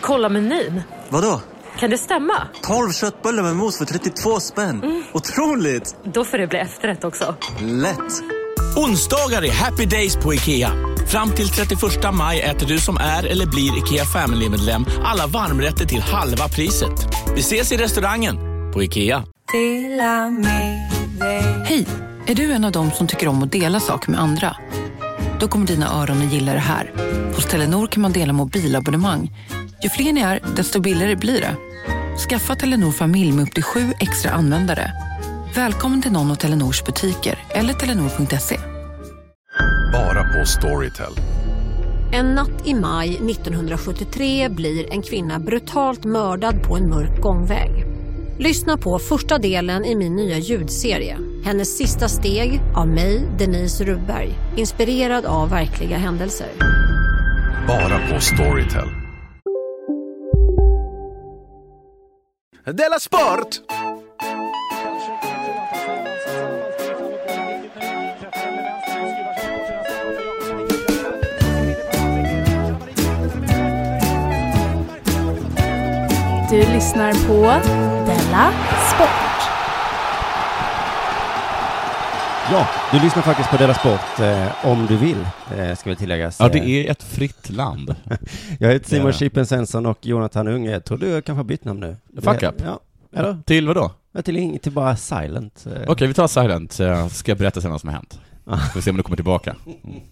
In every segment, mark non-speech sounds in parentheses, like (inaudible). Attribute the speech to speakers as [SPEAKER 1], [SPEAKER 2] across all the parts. [SPEAKER 1] Kolla menyn.
[SPEAKER 2] Vadå?
[SPEAKER 1] Kan det stämma?
[SPEAKER 2] 12 köttbullar med mos för 32 spänn. Otroligt!
[SPEAKER 1] Då får det bli efterrätt också.
[SPEAKER 2] Lätt!
[SPEAKER 3] Onsdagar är happy days på IKEA. Fram till 31 maj äter du som är eller blir IKEA Family-medlem alla varmrätter till halva priset. Vi ses i restaurangen på IKEA.
[SPEAKER 4] Hej! Är du en av dem som tycker om att dela saker med andra? Då kommer dina öron att gilla det här. Hos Telenor kan man dela mobilabonnemang. Ju fler ni är, desto billigare blir det. Skaffa Telenor familj med upp till sju extra användare. Välkommen till någon av Telenors butiker eller telenor.se.
[SPEAKER 5] Bara på Storytel.
[SPEAKER 6] En natt i maj 1973 blir en kvinna brutalt mördad på en mörk gångväg. Lyssna på första delen i min nya ljudserie. Hennes sista steg av mig, Denise Rubberg. Inspirerad av verkliga händelser.
[SPEAKER 5] Bara på Storytel.
[SPEAKER 7] Della Sport!
[SPEAKER 8] Du lyssnar på Della Sport.
[SPEAKER 9] Ja, du lyssnar faktiskt på Della Sport eh, om du vill, eh, ska väl tilläggas.
[SPEAKER 10] Ja, det
[SPEAKER 9] Eh,
[SPEAKER 10] är ett fritt land.
[SPEAKER 9] (laughs) Jag heter Simon
[SPEAKER 10] Ja.
[SPEAKER 9] Chippen Svensson och Jonathan Unge. Jag tror du kanske har bytt namn nu.
[SPEAKER 10] Fuck up.
[SPEAKER 9] Ja, eller?
[SPEAKER 10] Till vad då?
[SPEAKER 9] Ja, Till, ing- till bara silent. eh.
[SPEAKER 10] Okej, vi tar silent, så ska jag berätta sen vad som har hänt.
[SPEAKER 9] Ah.
[SPEAKER 10] Får vi se om du kommer tillbaka.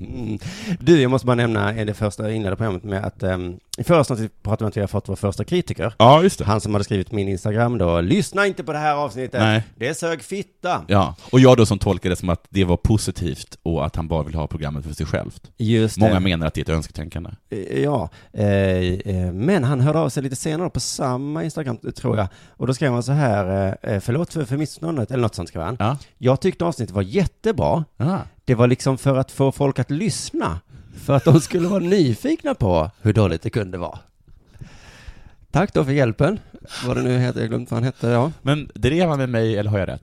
[SPEAKER 9] Mm. (laughs) Du, jag måste bara nämna eh, det första jag inledde programmet med att ehm, i förra avsnittet pratade vi om att vi har fått vår första kritiker.
[SPEAKER 10] Ja, just det.
[SPEAKER 9] Han som hade skrivit min Instagram då, lyssna inte på det här avsnittet.
[SPEAKER 10] Nej.
[SPEAKER 9] Det sög fitta.
[SPEAKER 10] Ja, och jag då som tolkade det som att det var positivt och att han bara vill ha programmet för sig självt.
[SPEAKER 9] Just
[SPEAKER 10] Många
[SPEAKER 9] det.
[SPEAKER 10] menar att det är ett önsketänkande.
[SPEAKER 9] Eh, Ja, eh, eh, men han hörde av sig lite senare på samma Instagram tror jag. Och då skrev han så här, eh, eh, förlåt för, för missförståndet, eller något sånt skrev han.
[SPEAKER 10] Ja.
[SPEAKER 9] Jag tyckte avsnittet var jättebra.
[SPEAKER 10] Ah.
[SPEAKER 9] Det var liksom för att få folk att lyssna. För att de skulle vara nyfikna på hur dåligt det kunde vara. Tack då för hjälpen. Vad det nu heter, jag glömde vad han hette, ja.
[SPEAKER 10] Men drev han med mig, eller har jag rätt?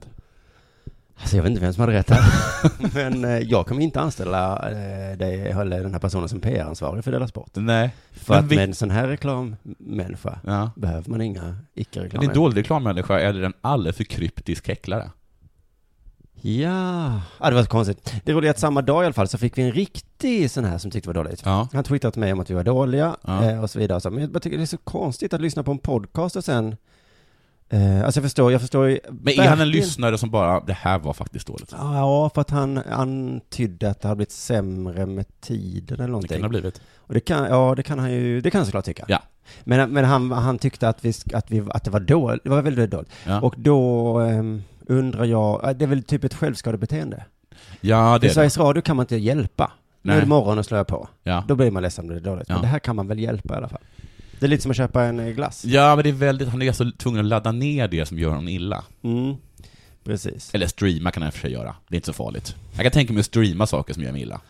[SPEAKER 9] Alltså jag vet inte vem som hade rätt här. (laughs) Men eh, jag kommer inte anställa eh, dig, eller den här personen som PR-ansvarig för Della Sport.
[SPEAKER 10] Nej.
[SPEAKER 9] För
[SPEAKER 10] Men
[SPEAKER 9] att
[SPEAKER 10] vi-
[SPEAKER 9] med en sån här reklammänniska
[SPEAKER 10] Ja.
[SPEAKER 9] behöver man inga icke-reklamer.
[SPEAKER 10] Är det en dålig reklammänniska eller en alldeles för kryptisk häcklare?
[SPEAKER 9] Ja, ah, det var så konstigt. Det roliga är att samma dag i alla fall så fick vi en riktig sån här som tyckte det var dåligt.
[SPEAKER 10] Ja.
[SPEAKER 9] Han twittrade till mig om att vi var dåliga
[SPEAKER 10] Ja.
[SPEAKER 9] eh, och så vidare. och Så, men jag bara tycker det är så konstigt att lyssna på en podcast och sen... Eh, alltså jag förstår, jag förstår ju...
[SPEAKER 10] Men är han en lyssnare som bara, det här var faktiskt dåligt?
[SPEAKER 9] Ja, för att han antydde att det hade blivit sämre med tiden eller
[SPEAKER 10] Det
[SPEAKER 9] någonting.
[SPEAKER 10] kan ha blivit.
[SPEAKER 9] Och det kan, ja, det kan han ju, det kan han såklart tycka.
[SPEAKER 10] Ja.
[SPEAKER 9] Men, men han, han tyckte att, vi, sk- att, vi, att det var dåligt, det var väldigt dåligt.
[SPEAKER 10] Ja.
[SPEAKER 9] Och då ehm, undrar jag, eh, det är väl typ ett självskadebeteende?
[SPEAKER 10] Ja, det
[SPEAKER 9] I
[SPEAKER 10] är det.
[SPEAKER 9] Sveriges Radio kan man inte hjälpa. Nu är
[SPEAKER 10] Nej.
[SPEAKER 9] det morgon och slår jag på.
[SPEAKER 10] Ja.
[SPEAKER 9] Då blir man ledsen om det är dåligt.
[SPEAKER 10] Ja.
[SPEAKER 9] Men det här kan man väl hjälpa i alla fall. Det är lite som att köpa en eh, glass.
[SPEAKER 10] Ja, men det är väldigt, han är alltså tvungen att ladda ner det som gör honom illa.
[SPEAKER 9] Mm. Precis.
[SPEAKER 10] Eller streama kan han i och för sig göra. Det är inte så farligt. Jag kan tänka mig att streama saker som gör mig illa.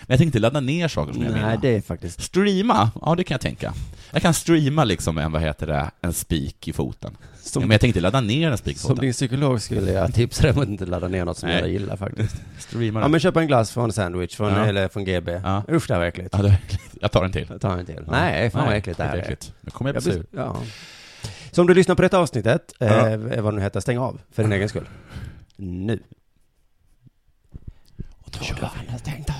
[SPEAKER 10] Men jag tänkte ladda ner saker som gör mig illa.
[SPEAKER 9] Nej, det är faktiskt...
[SPEAKER 10] Streama? Ja, det kan jag tänka. Jag kan streama liksom en, vad heter det, en spik i foten.
[SPEAKER 9] Som-
[SPEAKER 10] ja, men jag tänkte ladda ner en spik i
[SPEAKER 9] Som
[SPEAKER 10] foten.
[SPEAKER 9] din psykolog skulle jag tipsa dig om att inte ladda ner något som
[SPEAKER 10] Nej.
[SPEAKER 9] jag
[SPEAKER 10] (laughs)
[SPEAKER 9] gillar faktiskt.
[SPEAKER 10] Streama
[SPEAKER 9] Ja
[SPEAKER 10] den.
[SPEAKER 9] men köpa en glass från Sandwich, från,
[SPEAKER 10] Ja.
[SPEAKER 9] eller från GB.
[SPEAKER 10] Ja.
[SPEAKER 9] Usch det här var äckligt.
[SPEAKER 10] Ja, det (laughs) var äckligt. Jag tar en till.
[SPEAKER 9] Ta en till. Nej, fan vad äckligt det här är.
[SPEAKER 10] äckligt. Nu kommer jag
[SPEAKER 9] Jag
[SPEAKER 10] bli sur.
[SPEAKER 9] blir, ja. Så om du lyssnar på detta avsnittet,
[SPEAKER 10] Ja.
[SPEAKER 9] eh, vad det nu heter, stäng av för din egen skull. Nu.
[SPEAKER 10] Och då kör vi. (laughs) Stängt av.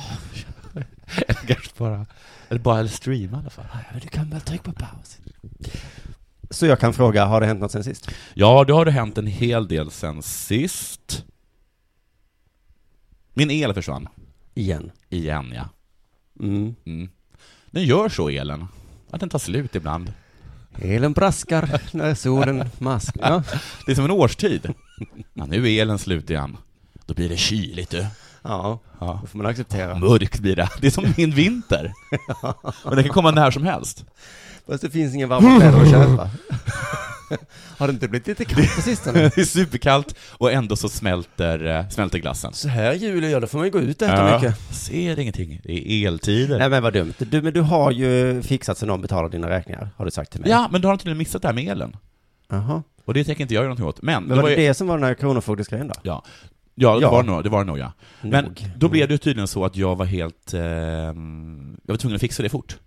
[SPEAKER 10] Eller kanske bara, (laughs) eller bara eller streama i alla fall. Du kan väl trycka på paus.
[SPEAKER 9] Så jag kan fråga, har det hänt något sen sist?
[SPEAKER 10] Ja, det har det hänt en hel del sen sist. Min el försvann.
[SPEAKER 9] Igen.
[SPEAKER 10] Igen, ja.
[SPEAKER 9] Mm.
[SPEAKER 10] Mm. Den gör så, elen. Att den tar slut ibland.
[SPEAKER 9] Elen braskar när solen maskar. Ja.
[SPEAKER 10] Det är som en årstid. Ja, nu är elen slut igen. Då blir det kyligt du.
[SPEAKER 9] ja,
[SPEAKER 10] Ja.
[SPEAKER 9] då får man acceptera.
[SPEAKER 10] Mörkt blir det. Det är som min vinter. Men det kan komma när som helst. (laughs)
[SPEAKER 9] Fast det finns ingen varma kläder att köpa. (laughs) har det inte blivit lite kallt på sistone?
[SPEAKER 10] Det är superkallt och ändå så smälter, eh, smälter glassen.
[SPEAKER 9] (laughs) Så här julen gör, då får man ju gå ut och
[SPEAKER 10] Ser ingenting. Det är eltider.
[SPEAKER 9] Nej men vad dumt. Du, men du har ju fixat så någon betalar dina räkningar, har du sagt till mig.
[SPEAKER 10] Ja, men då har de tydligen missat det här med elen.
[SPEAKER 9] Jaha.
[SPEAKER 10] Och det tänker inte jag göra någonting åt. Men,
[SPEAKER 9] Men var det
[SPEAKER 10] ju-
[SPEAKER 9] det som var den här kronofogdesgrejen då?
[SPEAKER 10] Ja, ja, det,
[SPEAKER 9] Ja.
[SPEAKER 10] Var nog, det var det nog ja. Men
[SPEAKER 9] Nog. Mm.
[SPEAKER 10] då blev det ehm, ju tydligen så att jag var helt... Eh, jag var tvungen att fixa det fort.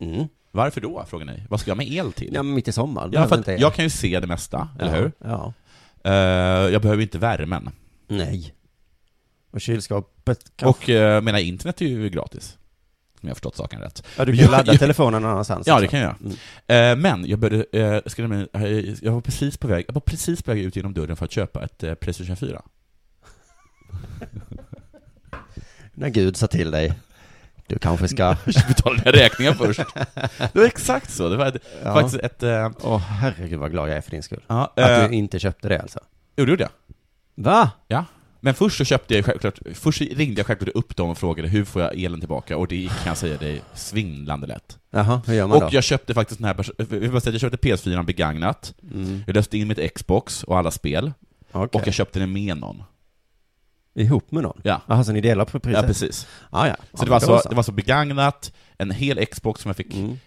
[SPEAKER 9] Mm.
[SPEAKER 10] Jag Varför då? Frågar ni. Vad ska jag med el till?
[SPEAKER 9] Ja, men mitt i sommar.
[SPEAKER 10] Ja,
[SPEAKER 9] behöver
[SPEAKER 10] för
[SPEAKER 9] inte
[SPEAKER 10] att
[SPEAKER 9] el.
[SPEAKER 10] jag kan ju se det mesta, eller hur?
[SPEAKER 9] Ja.
[SPEAKER 10] Eh, jag behöver inte värmen.
[SPEAKER 9] Nej. Och kylskåpet kan...
[SPEAKER 10] Och eh, mina internet är ju gratis. Om jag har förstått saken rätt.
[SPEAKER 9] ja, du
[SPEAKER 10] Men
[SPEAKER 9] kan
[SPEAKER 10] jag-
[SPEAKER 9] ladda
[SPEAKER 10] jag-
[SPEAKER 9] telefonen någon annanstans.
[SPEAKER 10] Ja,
[SPEAKER 9] också.
[SPEAKER 10] det kan jag göra.
[SPEAKER 9] Mm.
[SPEAKER 10] Eh, men jag började, eh, ska jag, nämligen- eh, jag var precis på väg, jag var precis på väg ut genom dörren för att köpa ett eh, Playstation (laughs) 4.
[SPEAKER 9] När Gud sa till dig, du kanske
[SPEAKER 10] Mm,
[SPEAKER 9] ska...
[SPEAKER 10] Betala den här räkningen först.
[SPEAKER 9] (laughs)
[SPEAKER 10] Det var exakt så, det var ett,
[SPEAKER 9] Ja.
[SPEAKER 10] faktiskt ett... Eh,
[SPEAKER 9] Åh herregud vad glad jag är för din skull.
[SPEAKER 10] ja, eh,
[SPEAKER 9] Att du inte köpte det alltså.
[SPEAKER 10] jo, det gjorde jag.
[SPEAKER 9] Va?
[SPEAKER 10] Ja. Men först så köpte jag självklart, först ringde jag självklart upp dem och frågade hur får jag elen tillbaka? Och det gick, kan jag säga dig, svindlande lätt.
[SPEAKER 9] Jaha, hur gör man
[SPEAKER 10] Och
[SPEAKER 9] då?
[SPEAKER 10] jag köpte faktiskt den här, pers- jag vill bara säga att jag köpte PS4 begagnat,
[SPEAKER 9] Mm.
[SPEAKER 10] jag löste in mitt Xbox och alla spel,
[SPEAKER 9] Okej.
[SPEAKER 10] och jag köpte den med någon.
[SPEAKER 9] Ihop med någon?
[SPEAKER 10] Ja.
[SPEAKER 9] Jaha, så ni delar på priset?
[SPEAKER 10] Ja, precis.
[SPEAKER 9] Ah, ja.
[SPEAKER 10] Så det, var så, det var så begagnat, en hel Xbox som jag fick, eh,
[SPEAKER 9] Mm.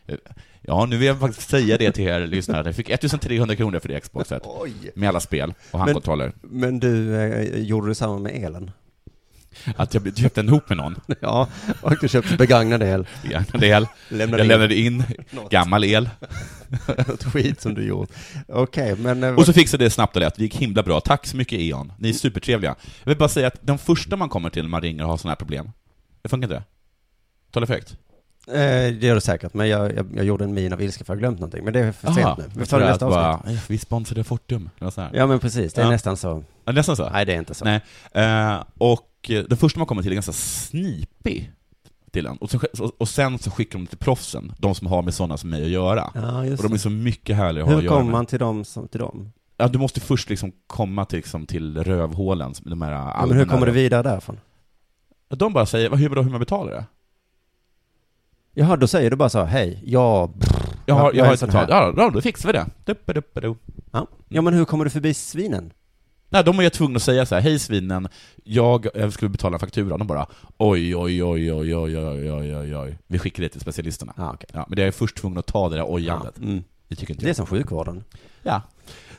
[SPEAKER 10] ja nu vill jag faktiskt säga det till er lyssnare, jag fick 1300 kronor för det Xboxet.
[SPEAKER 9] Oj.
[SPEAKER 10] Med alla spel och handkontroller.
[SPEAKER 9] Men du, eh, gjorde du samma med elen? (laughs)
[SPEAKER 10] Att jag köpte den ihop med någon.
[SPEAKER 9] Ja, och du köpte begagnad el. (laughs)
[SPEAKER 10] Begagnad el.
[SPEAKER 9] Lämnade
[SPEAKER 10] Jag lämnade
[SPEAKER 9] (laughs)
[SPEAKER 10] in gammal el.
[SPEAKER 9] något skit som du gjort. Okej, men... eh,
[SPEAKER 10] Och så fixade det snabbt och lätt, det gick himla bra. Tack så mycket E.ON, ni är supertrevliga. Jag vill bara säga att den första man kommer till när man ringer och har sådana här problem, det funkar inte det? Talar för högt?
[SPEAKER 9] eh, det gör du säkert, men jag, jag, jag gjorde en min av ilska för jag har glömt någonting. Men det är för sent nu. Vi
[SPEAKER 10] jag
[SPEAKER 9] tar
[SPEAKER 10] tror
[SPEAKER 9] det nästa
[SPEAKER 10] att bara,
[SPEAKER 9] avsnitt.
[SPEAKER 10] "Eh, Vi sponsrade Fortum, eller så här.
[SPEAKER 9] Ja, men precis. Det är
[SPEAKER 10] Ja.
[SPEAKER 9] nästan så.
[SPEAKER 10] Ja. Nästan så.
[SPEAKER 9] Nej, det är inte så.
[SPEAKER 10] Nej. Eh, och eh, den första man kommer till är ganska snipig till en. Och, sen- och sen så skickar de till proffsen, de som har med sådana som mig att göra.
[SPEAKER 9] Ja, just
[SPEAKER 10] Och de är
[SPEAKER 9] det.
[SPEAKER 10] så mycket härligare att ha att
[SPEAKER 9] Hur
[SPEAKER 10] göra
[SPEAKER 9] kommer
[SPEAKER 10] med.
[SPEAKER 9] man till dem som till dem?
[SPEAKER 10] Ja, du måste först liksom komma till, liksom, till rövhålen, som de här
[SPEAKER 9] Ja, men hur kommer du
[SPEAKER 10] allmänna-
[SPEAKER 9] vidare därifrån?
[SPEAKER 10] De bara säger, "Vad- hur, vadå, hur man betalar det?
[SPEAKER 9] Jaha, då säger du bara så, här, hej, jag...
[SPEAKER 10] Jag har,
[SPEAKER 9] Jag-
[SPEAKER 10] jag
[SPEAKER 9] jag är
[SPEAKER 10] har ett
[SPEAKER 9] sån
[SPEAKER 10] betalt. Ja, då- då fixar vi det. Duppa, duppa, do.
[SPEAKER 9] Ja. ja, men hur kommer du förbi svinen?
[SPEAKER 10] Nej, de är ju tvungna att säga så här, hej svinen, jag eh, skulle betala fakturan. De bara, oj, oj, oj, oj, oj, oj, oj, oj, oj. Vi skickar det till specialisterna.
[SPEAKER 9] Ja, okej.
[SPEAKER 10] Ja, men det är först tvungen att ta det där ojandet.
[SPEAKER 9] Mm.
[SPEAKER 10] Det tycker inte
[SPEAKER 9] Det är
[SPEAKER 10] jag.
[SPEAKER 9] som sjukvården.
[SPEAKER 10] Ja.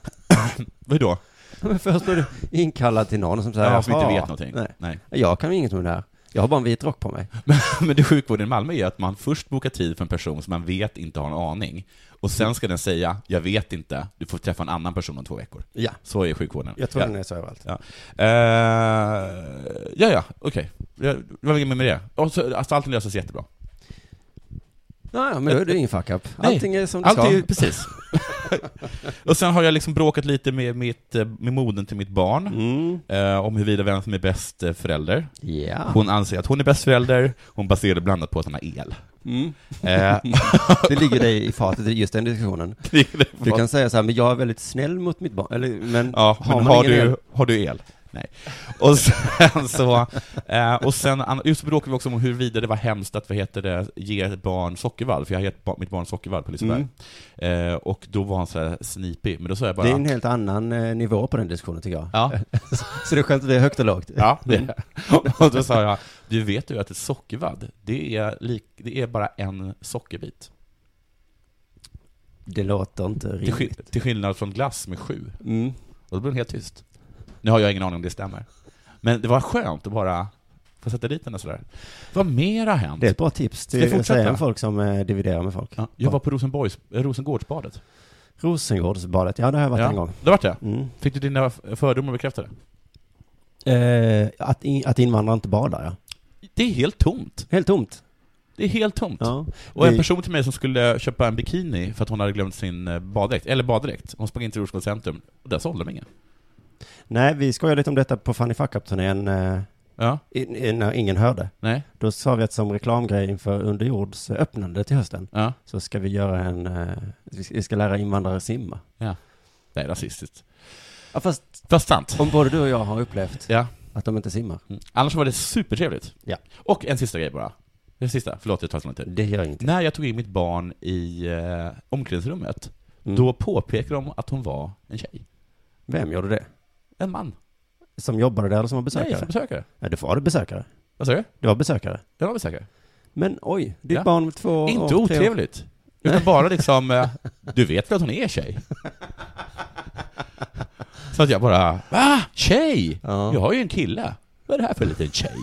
[SPEAKER 10] (coughs) Hur då?
[SPEAKER 9] Men först blir du inkallad till någon som säger
[SPEAKER 10] Ja, som inte
[SPEAKER 9] "Jaha."
[SPEAKER 10] vet någonting.
[SPEAKER 9] Nej.
[SPEAKER 10] Nej.
[SPEAKER 9] Jag kan ju inget om det här. Jag har bara en vit rock på mig.
[SPEAKER 10] (laughs) Men det sjukvården i Malmö är att man först bokar tid för en person som man vet inte har en aning, och sen ska den säga ”jag vet inte, du får träffa en annan person om två veckor”.
[SPEAKER 9] Ja,
[SPEAKER 10] Så är sjukvården.
[SPEAKER 9] jag tror
[SPEAKER 10] ja.
[SPEAKER 9] den är så överallt.
[SPEAKER 10] Ja, Eh, ja, ja okej. Okay. Det var inget mer med det. Och så, alltså, allting löser sig jättebra.
[SPEAKER 9] Ja, ja, men då är det ingen fuck-up.
[SPEAKER 10] Nej.
[SPEAKER 9] Allting är som det
[SPEAKER 10] Allting,
[SPEAKER 9] ska.
[SPEAKER 10] är- precis. (laughs) och sen har jag liksom bråkat lite med, mitt, eh, med modern till mitt barn,
[SPEAKER 9] Mm.
[SPEAKER 10] eh, om huruvida vem som är bäst eh, förälder.
[SPEAKER 9] Ja.
[SPEAKER 10] Hon anser att hon är bäst förälder, hon baserar det bland annat på att han har el.
[SPEAKER 9] Mm.
[SPEAKER 10] Eh,
[SPEAKER 9] (laughs)
[SPEAKER 10] (laughs)
[SPEAKER 9] Det ligger dig i fatet i just den diskussionen. Du kan säga så här, men jag är väldigt snäll mot mitt barn, eller men,
[SPEAKER 10] Ja,
[SPEAKER 9] har
[SPEAKER 10] men
[SPEAKER 9] man
[SPEAKER 10] har
[SPEAKER 9] ingen
[SPEAKER 10] du,
[SPEAKER 9] el?
[SPEAKER 10] har du el? Nej. Och sen så, eh, och sen, an- just bråkade vi också om huruvida det var hemskt att, vad heter det, ge ett barn sockervadd, för jag har gett ba- mitt barn sockervadd på Liseberg. Eh, och då var han så här snipig, men då sa jag bara...
[SPEAKER 9] Mm. Det är en helt annan eh, nivå på den diskussionen tycker jag.
[SPEAKER 10] ja,
[SPEAKER 9] (laughs) Så det är skönt att det är högt och lågt.
[SPEAKER 10] ja, det
[SPEAKER 9] Mm.
[SPEAKER 10] är det. (laughs) Och då sa jag, du vet ju att ett sockervadd, det är, lik, det är bara en sockerbit.
[SPEAKER 9] Det låter inte
[SPEAKER 10] Till,
[SPEAKER 9] rimligt.
[SPEAKER 10] skill- till skillnad från glass med sju.
[SPEAKER 9] Mm.
[SPEAKER 10] Och då blev hon helt tyst. Nu har jag ingen aning om det stämmer. Men det var skönt att bara få sätta dit henne sådär. Vad mer har hänt?
[SPEAKER 9] Det är ett bra tips
[SPEAKER 10] Ska
[SPEAKER 9] till
[SPEAKER 10] jag fortsätta?
[SPEAKER 9] säga om folk som eh, dividerar med folk.
[SPEAKER 10] Ja, jag var på Rosenborgs, eh, Rosengårdsbadet.
[SPEAKER 9] Rosengårdsbadet, ja det har jag varit
[SPEAKER 10] Ja,
[SPEAKER 9] en gång.
[SPEAKER 10] Det vart det?
[SPEAKER 9] Mm.
[SPEAKER 10] Fick du dina f- fördomar bekräftade?
[SPEAKER 9] Eh, att, in, att invandrare inte badar ja.
[SPEAKER 10] Det är helt tomt.
[SPEAKER 9] Helt tomt.
[SPEAKER 10] Det är helt tomt.
[SPEAKER 9] Ja.
[SPEAKER 10] Och en
[SPEAKER 9] Vi-
[SPEAKER 10] person till mig som skulle köpa en bikini för att hon hade glömt sin eh, baddräkt, eller baddräkt. Hon sprang in till Rosengårds centrum, och där sålde de ingen.
[SPEAKER 9] Nej, vi skojade lite om detta på Funny Fuck Up-turnén eh,
[SPEAKER 10] Ja,
[SPEAKER 9] in- in- när ingen hörde.
[SPEAKER 10] nej,
[SPEAKER 9] Då sa vi att som reklamgrej inför Underjords öppnande till hösten
[SPEAKER 10] ja.
[SPEAKER 9] så ska vi göra en, eh, vi ska- vi ska lära invandrare simma.
[SPEAKER 10] Det är rasistiskt.
[SPEAKER 9] Ja, fast
[SPEAKER 10] Fast sant.
[SPEAKER 9] om både du och jag har upplevt
[SPEAKER 10] Ja.
[SPEAKER 9] att de inte simmar.
[SPEAKER 10] Mm. Annars var det supertrevligt.
[SPEAKER 9] Ja.
[SPEAKER 10] Och en sista grej bara. En sista, förlåt jag tar så lång tid.
[SPEAKER 9] Det gör ingenting.
[SPEAKER 10] När jag tog in mitt barn i eh, omklädningsrummet,
[SPEAKER 9] Mm.
[SPEAKER 10] då påpekade de att hon var en tjej.
[SPEAKER 9] Vem gjorde det?
[SPEAKER 10] En man.
[SPEAKER 9] Som jobbade där eller som var
[SPEAKER 10] Nej,
[SPEAKER 9] besökare?
[SPEAKER 10] som besökare.
[SPEAKER 9] Nej, det var det besökare.
[SPEAKER 10] Vad sa du?
[SPEAKER 9] Det var besökare.
[SPEAKER 10] Jag var besökare.
[SPEAKER 9] Men oj, ditt
[SPEAKER 10] Ja.
[SPEAKER 9] barn var två och
[SPEAKER 10] Inte
[SPEAKER 9] tre år.
[SPEAKER 10] otrevligt. Utan bara liksom, eh, du vet väl att hon är tjej? (laughs) Så att jag bara, va? Tjej?
[SPEAKER 9] Ja.
[SPEAKER 10] Jag har ju en kille. Vad är det här för liten tjej?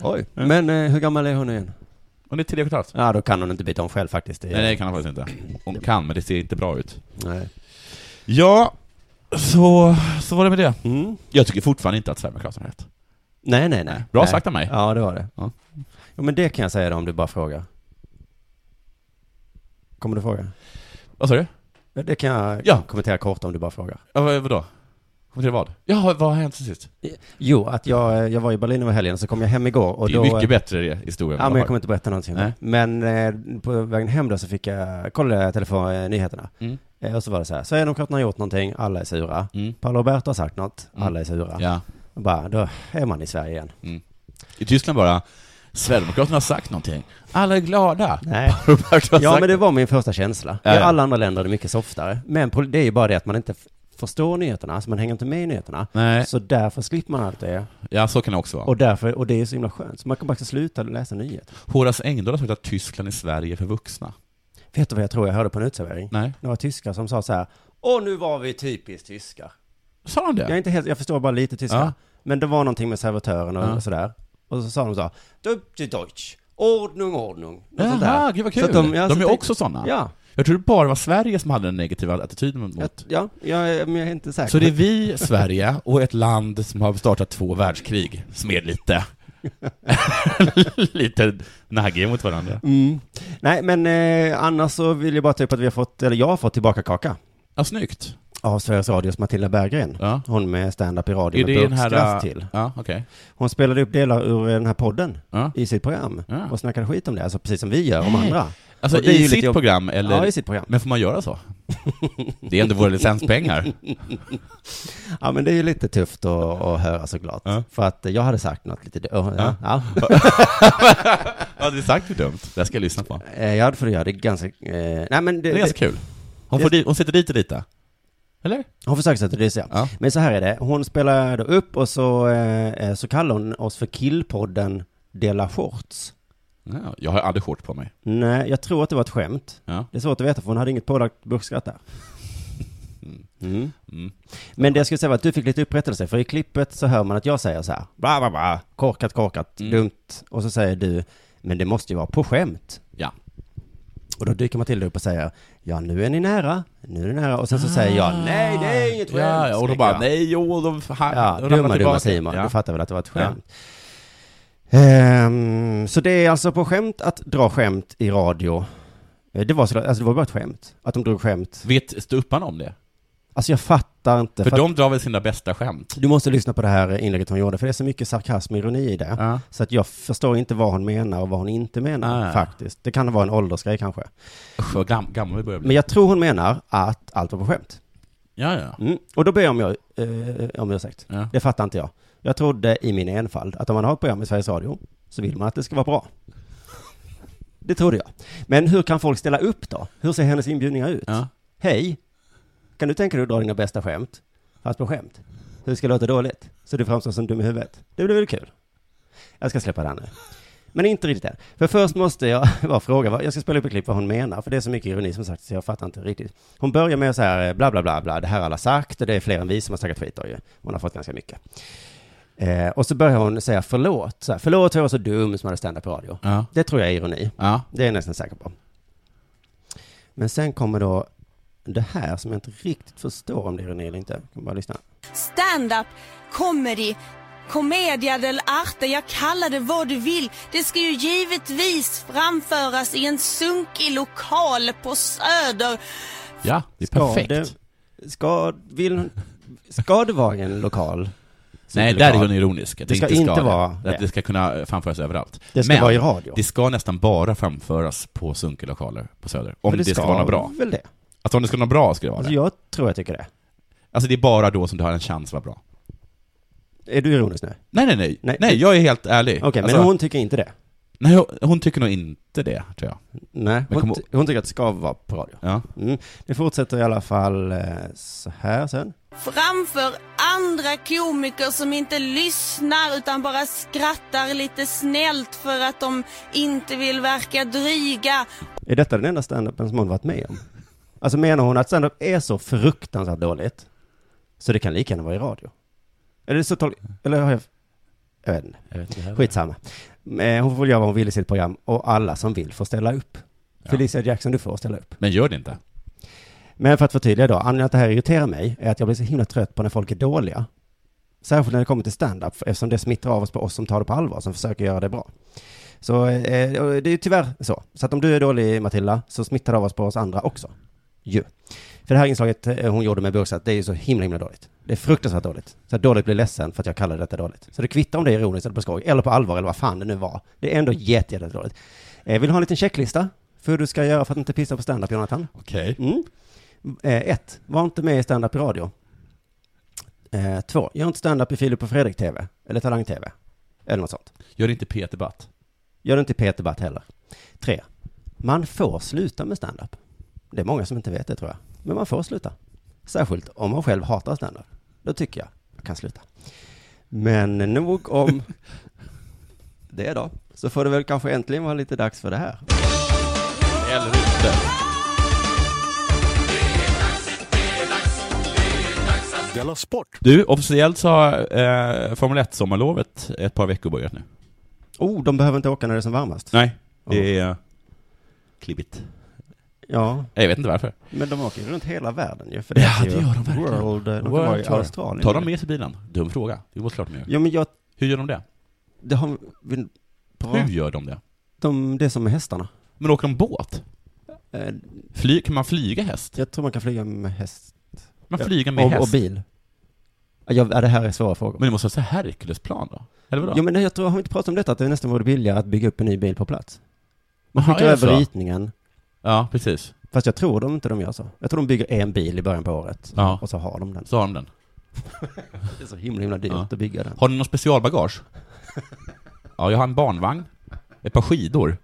[SPEAKER 9] Oj. Men eh, hur gammal är hon igen?
[SPEAKER 10] Hon är tre och ett halvt.
[SPEAKER 9] Ja, då kan hon inte byta om själv faktiskt. Det-
[SPEAKER 10] Nej, det kan hon faktiskt inte. Hon kan, men det ser inte bra ut.
[SPEAKER 9] Nej.
[SPEAKER 10] Ja, så, så var det med det.
[SPEAKER 9] Mm.
[SPEAKER 10] Jag tycker fortfarande inte att Selma Claesson har rätt.
[SPEAKER 9] nej, nej, nej.
[SPEAKER 10] Bra
[SPEAKER 9] nej.
[SPEAKER 10] sagt av mig.
[SPEAKER 9] Ja, det var det.
[SPEAKER 10] Ja.
[SPEAKER 9] Jo, men det kan jag säga då, om du bara frågar. Kommer du fråga?
[SPEAKER 10] Vad sa du?
[SPEAKER 9] Ja, Det kan jag
[SPEAKER 10] Ja.
[SPEAKER 9] kommentera kort om du bara frågar.
[SPEAKER 10] Ja, vad- vadå? Kommer till vad? Ja, vad har hänt sen sist?
[SPEAKER 9] Jo, att jag, jag var i Berlin över helgen, så kom jag hem igår och
[SPEAKER 10] det är
[SPEAKER 9] då...
[SPEAKER 10] mycket bättre i- historia.
[SPEAKER 9] Ja, men jag kommer inte berätta någonting.
[SPEAKER 10] Nej.
[SPEAKER 9] Men eh, på vägen hem då så fick jag, kollade jag telefon, eh, nyheterna.
[SPEAKER 10] Mm.
[SPEAKER 9] Eh, och så var det så här, Sverigedemokraterna har gjort någonting, alla är sura.
[SPEAKER 10] Mm.
[SPEAKER 9] Paolo Roberto har sagt något,
[SPEAKER 10] Mm.
[SPEAKER 9] alla är sura.
[SPEAKER 10] Ja.
[SPEAKER 9] Och bara, då är man i Sverige igen.
[SPEAKER 10] I Tyskland bara, Sverigedemokraterna har sagt någonting. Alla är glada. (laughs)
[SPEAKER 9] Nej.
[SPEAKER 10] Robert har
[SPEAKER 9] Ja,
[SPEAKER 10] sagt
[SPEAKER 9] men det var min första känsla.
[SPEAKER 10] Ja,
[SPEAKER 9] I
[SPEAKER 10] ja.
[SPEAKER 9] alla andra länder är det mycket softare. Men pol- det är ju bara det att man inte f- förstår nyheterna, alltså man hänger inte med i nyheterna.
[SPEAKER 10] Nej,
[SPEAKER 9] Så därför slipper man allt det.
[SPEAKER 10] ja så kan det också vara.
[SPEAKER 9] Och, därför, och det är så himla skönt. Så man kan bara sluta läsa nyheter.
[SPEAKER 10] Horace Engdahl har sagt att Tyskland är Sverige för vuxna.
[SPEAKER 9] Vet du vad jag tror jag hörde på en uteservering?
[SPEAKER 10] Nej.
[SPEAKER 9] Några tyskar som sa så här, Åh, nu var vi typiskt tyskar.
[SPEAKER 10] Sa han
[SPEAKER 9] Jag, är
[SPEAKER 10] det?
[SPEAKER 9] inte helt, jag förstår bara lite tyska.
[SPEAKER 10] Ja.
[SPEAKER 9] Men det var någonting med servitören och
[SPEAKER 10] Ja.
[SPEAKER 9] sådär. Och så sa de så här, "Upp till Deutsch, Ordnung, Ordnung. Något sånt
[SPEAKER 10] Jaha,
[SPEAKER 9] där.
[SPEAKER 10] gud vad
[SPEAKER 9] Så
[SPEAKER 10] kul.
[SPEAKER 9] att
[SPEAKER 10] De,
[SPEAKER 9] ja, så
[SPEAKER 10] är
[SPEAKER 9] det-
[SPEAKER 10] också sådana.
[SPEAKER 9] Ja,
[SPEAKER 10] Jag tror det bara var Sverige som hade den negativa attityden
[SPEAKER 9] jag,
[SPEAKER 10] mot.
[SPEAKER 9] ja jag, men jag är inte säker.
[SPEAKER 10] Så det är vi, Sverige, och ett land som har startat två världskrig som är
[SPEAKER 9] (laughs)
[SPEAKER 10] lite, (laughs) lite naggiga mot varandra.
[SPEAKER 9] Mm. Nej, men eh, annars så vill jag bara ta upp att vi har fått, eller jag har fått tillbaka kaka
[SPEAKER 10] Ja, snyggt.
[SPEAKER 9] av Sveriges Radios Matilda Berggren.
[SPEAKER 10] Ja.
[SPEAKER 9] Hon med stand-up i radio
[SPEAKER 10] Är
[SPEAKER 9] med
[SPEAKER 10] det den här... äh,
[SPEAKER 9] burkskraft till.
[SPEAKER 10] Ja, okej.
[SPEAKER 9] Hon spelade upp delar ur eh, den här podden
[SPEAKER 10] Ja.
[SPEAKER 9] i sitt program
[SPEAKER 10] Ja.
[SPEAKER 9] och snackade skit om det, alltså precis som vi gör om andra.
[SPEAKER 10] Alltså
[SPEAKER 9] Och det är ju
[SPEAKER 10] i
[SPEAKER 9] lite
[SPEAKER 10] sitt
[SPEAKER 9] jobb-
[SPEAKER 10] program, eller?
[SPEAKER 9] Ja, i sitt program.
[SPEAKER 10] Men får man göra så? Det är ändå våra licenspengar.
[SPEAKER 9] Ja, men det är ju lite tufft att, att höra såklart.
[SPEAKER 10] Ja.
[SPEAKER 9] För att jag hade sagt något lite... Ja. Ja. Ja.
[SPEAKER 10] Ja, det är sagt för dumt. Det här ska jag lyssna på.
[SPEAKER 9] Eh, Jag hade för att göra det ganska... Eh, nej, men det,
[SPEAKER 10] Det är ganska kul. Hon, får
[SPEAKER 9] Det-
[SPEAKER 10] di- hon sitter dit och lite. Eller?
[SPEAKER 9] hon försöker sätta det så.
[SPEAKER 10] Ja.
[SPEAKER 9] Men så här är det, hon spelar då upp och så, eh, eh, så kallar hon oss för killpodden Dela Shorts.
[SPEAKER 10] Ja, jag har aldrig shorts på mig.
[SPEAKER 9] Nej, jag tror att det var ett skämt.
[SPEAKER 10] Ja.
[SPEAKER 9] Det är svårt att veta för hon hade inget pålagt
[SPEAKER 10] (laughs)
[SPEAKER 9] burkskratt där. Mm.
[SPEAKER 10] Mm.
[SPEAKER 9] Men det jag skulle säga var att du fick lite upprättelse, för i klippet så hör man att jag säger så här, bla, bla, bla, korkat, korkat,
[SPEAKER 10] Mm.
[SPEAKER 9] dumt, och så säger du, men det måste ju vara på skämt.
[SPEAKER 10] Ja.
[SPEAKER 9] Och då dyker Matilda upp och säger, ja nu är ni nära, nu är ni nära, och sen så säger jag, nej det är inget skämt.
[SPEAKER 10] Ah. Ja, ja, och då
[SPEAKER 9] skriker
[SPEAKER 10] bara,
[SPEAKER 9] jag.
[SPEAKER 10] nej, jo, de ha,
[SPEAKER 9] Ja,
[SPEAKER 10] de ramlar
[SPEAKER 9] dumma, dumma
[SPEAKER 10] tillbaka.
[SPEAKER 9] säger man.
[SPEAKER 10] Ja.
[SPEAKER 9] Du fattar väl att det var ett skämt. Ehm, så det är alltså på skämt att dra skämt i radio. Eh, Det var, så, alltså det var bara ett skämt. Att de drog skämt.
[SPEAKER 10] Vet ståupparna om det?
[SPEAKER 9] Alltså jag fattar inte.
[SPEAKER 10] För
[SPEAKER 9] för
[SPEAKER 10] de drar väl sina bästa skämt?
[SPEAKER 9] att- Du måste lyssna på det här inlägget hon gjorde, för det är så mycket sarkasm och ironi i det.
[SPEAKER 10] Ja.
[SPEAKER 9] Så att jag förstår inte vad hon menar och vad hon inte menar,
[SPEAKER 10] Ah.
[SPEAKER 9] faktiskt. Det kan vara en åldersgrej kanske.
[SPEAKER 10] Usch, vad gam, gammal vi börjar bli.
[SPEAKER 9] Men jag tror hon menar att allt var på skämt.
[SPEAKER 10] Ja, ja.
[SPEAKER 9] Mm. Och då ber jag om, jag, eh, om ursäkt.
[SPEAKER 10] ja.
[SPEAKER 9] Det fattar inte jag. Jag trodde i min enfald att om man har ett program i Sveriges Radio så vill man att det ska vara bra. Det trodde jag. Men hur kan folk ställa upp då? Hur ser hennes inbjudningar ut?
[SPEAKER 10] Ja.
[SPEAKER 9] Hej, kan du tänka dig att dra dina bästa skämt? Fast på skämt. Hur ska det låta dåligt? Så du framstår som dum i huvudet. Det blir väl kul? Jag ska släppa det här nu. Men inte riktigt än. För först måste jag (laughs) bara fråga, vad- jag ska spela upp ett klipp vad hon menar, för det är så mycket ironi som sagt, så jag fattar inte riktigt. Hon börjar med så här, eh, bla bla bla bla, det här har alla sagt och det är fler än vi som har snackat skit då ju. Hon har fått ganska mycket. Eh, och så börjar hon säga förlåt, så här, förlåt för jag var så dum som hade stand-up på radio.
[SPEAKER 10] Ja.
[SPEAKER 9] Det tror jag är ironi.
[SPEAKER 10] Ja.
[SPEAKER 9] Det är jag nästan säker på. Men sen kommer då det här som jag inte riktigt förstår om det är ironi eller inte. Jag kan bara lyssna.
[SPEAKER 7] Stand-up, comedy, commedia dell'arte, jag kallar det vad du vill. Det ska ju givetvis framföras i en sunkig lokal på Söder.
[SPEAKER 10] ja, det är
[SPEAKER 9] Ska
[SPEAKER 10] perfekt.
[SPEAKER 9] Det, ska, vill, ska det vara en lokal?
[SPEAKER 10] (laughs) Nej, där är hon ironisk. Att
[SPEAKER 9] Det ska inte vara
[SPEAKER 10] det. Att
[SPEAKER 9] det.
[SPEAKER 10] det ska kunna framföras överallt.
[SPEAKER 9] Det ska
[SPEAKER 10] Men
[SPEAKER 9] vara i radio.
[SPEAKER 10] det ska nästan bara framföras på sunkelokaler på Söder. Om
[SPEAKER 9] För
[SPEAKER 10] det, ska vara något bra.
[SPEAKER 9] väl det?
[SPEAKER 10] Alltså om det ska vara något bra ska det vara
[SPEAKER 9] Alltså
[SPEAKER 10] det.
[SPEAKER 9] jag tror jag tycker det.
[SPEAKER 10] Alltså det är bara då som du har en chans att vara bra.
[SPEAKER 9] Är du ironisk nu?
[SPEAKER 10] Nej, nej, nej. Nej,
[SPEAKER 9] Nej.
[SPEAKER 10] jag är helt ärlig.
[SPEAKER 9] Okej,
[SPEAKER 10] Alltså,
[SPEAKER 9] men hon tycker inte det.
[SPEAKER 10] Nej, hon- hon tycker nog inte det, tror jag.
[SPEAKER 9] Nej,
[SPEAKER 10] Men kom
[SPEAKER 9] hon, ty- hon tycker att det ska vara på radio.
[SPEAKER 10] Ja.
[SPEAKER 9] Mm. Det fortsätter i alla fall eh, så här sen.
[SPEAKER 7] Framför andra komiker som inte lyssnar utan bara skrattar lite snällt för att de inte vill verka dryga.
[SPEAKER 9] Är detta den enda standupen som hon varit med om? Alltså menar hon att standup är så fruktansvärt dåligt så det kan lika gärna vara i radio? Eller, så tol- eller har jag... Jag vet inte.
[SPEAKER 10] Jag vet inte heller.
[SPEAKER 9] Skitsamma. Eh, Hon får väl göra vad hon vill i sitt program och alla som vill får ställa upp.
[SPEAKER 10] Ja.
[SPEAKER 9] Felicia Jackson, du får ställa upp.
[SPEAKER 10] Men gör det inte.
[SPEAKER 9] Men för att förtydliga då, anledningen till att det här irriterar mig är att jag blir så himla trött på när folk är dåliga. Särskilt när det kommer till stand-up, eftersom det smittar av oss på oss som tar det på allvar, som försöker göra det bra. Så eh, och det är ju tyvärr så. Så att om du är dålig, Matilda, så smittar det av oss på oss andra också. Ju. För det här inslaget eh, hon gjorde med Burksat, det är ju så himla, himla dåligt. Det är fruktansvärt dåligt. Så att dåligt blir ledsen för att jag kallar detta dåligt. Så det kvittar om det är ironiskt eller på skoj, eller på allvar, eller vad fan det nu var. Det är ändå jätte, jätte dåligt. Eh, vill du ha en liten checklista? För hur du ska göra för att inte pissa på stand-up, Jonathan?
[SPEAKER 10] Okej.
[SPEAKER 9] Mm. Eh, ett, var inte med i stand-up i radio. Eh, två, gör inte stand-up i Filip och Fredrik TV, eller Talang TV, eller något sånt.
[SPEAKER 10] Gör inte Peter Batt.
[SPEAKER 9] Gör det inte i Peter Batt heller. Tre, man får sluta med stand-up. Det är många som inte vet det tror jag, men man får sluta. Särskilt om man själv hatar stand-up. Då tycker jag, jag kan sluta. Men nog om det då, så får det väl kanske äntligen vara lite dags för det här.
[SPEAKER 10] Eller inte.
[SPEAKER 2] Della Sport.
[SPEAKER 10] Du, officiellt så har eh, Formel 1-sommarlovet ett par veckor börjat nu.
[SPEAKER 9] Oh, de behöver inte åka när det är som varmast.
[SPEAKER 10] Nej, det är... Klibbigt.
[SPEAKER 9] Ja,
[SPEAKER 10] Nej, Jag vet inte varför.
[SPEAKER 9] Men de åker ju runt hela världen ju. För det
[SPEAKER 10] Ja,
[SPEAKER 9] heter
[SPEAKER 10] det
[SPEAKER 9] ju
[SPEAKER 10] gör de verkligen.
[SPEAKER 9] World, eh, de kan
[SPEAKER 10] World
[SPEAKER 9] vara i
[SPEAKER 10] Tour.
[SPEAKER 9] Australien.
[SPEAKER 10] Tar de med sig bilen? Dum fråga. Det är klart de gör.
[SPEAKER 9] Ja, men jag,
[SPEAKER 10] Hur gör de det?
[SPEAKER 9] det har vi, bra,
[SPEAKER 10] Hur gör de det?
[SPEAKER 9] de, det som med hästarna.
[SPEAKER 10] Men åker de båt?
[SPEAKER 9] Eh,
[SPEAKER 10] Fly, kan man flyga häst?
[SPEAKER 9] Jag tror man kan flyga med häst.
[SPEAKER 10] Man
[SPEAKER 9] Ja.
[SPEAKER 10] flyger med
[SPEAKER 9] och,
[SPEAKER 10] häst?
[SPEAKER 9] och bil. Ja, jag, ja, det här är svåra frågor.
[SPEAKER 10] Men det måste vara så här Herculesplan då? Eller vadå?
[SPEAKER 9] Jo, men jag tror, har vi inte pratat om detta, att det nästan vore billigare att bygga upp en ny bil på plats? Man
[SPEAKER 10] Jaha,
[SPEAKER 9] skickar
[SPEAKER 10] är det så?
[SPEAKER 9] över ritningen,
[SPEAKER 10] Ja, precis.
[SPEAKER 9] fast jag tror de inte de gör så. Jag tror de bygger en bil i början på året,
[SPEAKER 10] Ja.
[SPEAKER 9] och så har de den.
[SPEAKER 10] Så har de den.
[SPEAKER 9] Det är så himla, himla dyrt
[SPEAKER 10] Ja.
[SPEAKER 9] att bygga den.
[SPEAKER 10] Har ni någon
[SPEAKER 9] (laughs)
[SPEAKER 10] specialbagage? ja, jag har en barnvagn. Ett par skidor.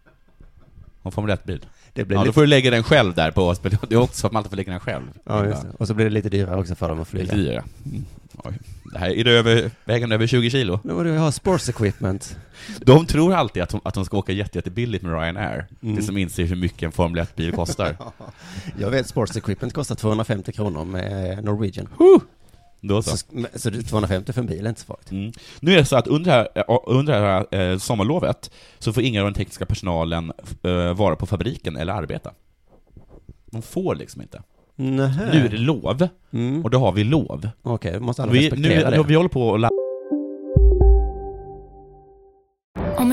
[SPEAKER 10] Och en Formel 1-bil.
[SPEAKER 9] Det blir
[SPEAKER 10] Ja, då
[SPEAKER 9] lite,
[SPEAKER 10] får du lägga den själv där på Det är också att man alltid får lägga den själv.
[SPEAKER 9] ja, just det. Och så blir det lite dyrare också för dem att
[SPEAKER 10] Det är
[SPEAKER 9] flyga.
[SPEAKER 10] lite dyrare. Mm. Oj. Det här är det över, vägen över 20 kilo.
[SPEAKER 9] Nu har du ha sports equipment.
[SPEAKER 10] De tror alltid att de, att de ska åka jätte, jättebilligt med Ryanair. Mm. Det som inser hur mycket en Formel 1-bil
[SPEAKER 9] (laughs)
[SPEAKER 10] kostar.
[SPEAKER 9] Jag vet, sports equipment kostar 250 kronor med eh, Norwegian.
[SPEAKER 10] Då
[SPEAKER 9] Så,
[SPEAKER 10] så.
[SPEAKER 9] sk- så det är 250 för en bil är inte så farligt.
[SPEAKER 10] Mm. Nu är det så att under det här, eh, under det här eh, sommarlovet så får ingen av den tekniska personalen eh, vara på fabriken eller arbeta. De får liksom inte.
[SPEAKER 9] Nähä.
[SPEAKER 10] Nu är det lov,
[SPEAKER 9] Mm.
[SPEAKER 10] och då har vi lov.
[SPEAKER 9] Okej, då måste alla
[SPEAKER 10] Vi, nu,
[SPEAKER 9] respektera det.
[SPEAKER 10] vi håller på och la-
[SPEAKER 4] Om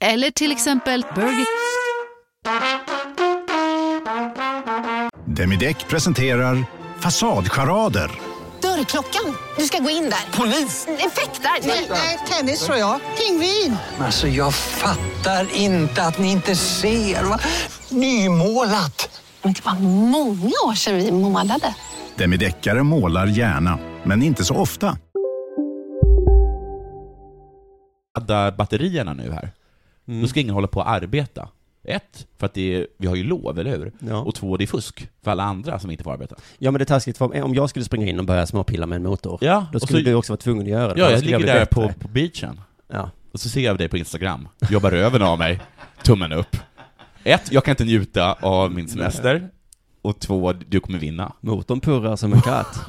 [SPEAKER 11] Eller till exempel Burger...
[SPEAKER 5] Demideck presenterar Fasadcharader.
[SPEAKER 11] Dörrklockan. Du ska gå in där. Polis? Effektar? Nej, tennis tror jag. Pingvin.
[SPEAKER 12] Alltså jag fattar inte att ni inte ser. Va? Nymålat!
[SPEAKER 11] Men det var många år sedan vi målade.
[SPEAKER 5] Demideckare målar gärna, men inte så ofta.
[SPEAKER 10] ladda batterierna nu här.
[SPEAKER 9] Mm.
[SPEAKER 10] Då ska ingen hålla på och arbeta. Ett, för att det är, vi har ju lov, eller hur?
[SPEAKER 9] Ja.
[SPEAKER 10] Och två, det är fusk för alla andra som inte får arbeta.
[SPEAKER 9] Ja, men det är taskigt. För om- om jag skulle springa in och börja småpilla med en motor,
[SPEAKER 10] Ja,
[SPEAKER 9] då
[SPEAKER 10] och
[SPEAKER 9] skulle
[SPEAKER 10] så-
[SPEAKER 9] du också vara tvungen att göra det.
[SPEAKER 10] Ja,
[SPEAKER 9] Då
[SPEAKER 10] jag
[SPEAKER 9] skulle
[SPEAKER 10] ligger
[SPEAKER 9] bli
[SPEAKER 10] där på,
[SPEAKER 9] bättre.
[SPEAKER 10] på beachen,
[SPEAKER 9] Ja.
[SPEAKER 10] och så ser jag dig på Instagram, jobbar röven av mig, tummen upp. Ett, jag kan inte njuta av min semester. Och två, du kommer vinna. (laughs)
[SPEAKER 9] Motorn purrar som en katt.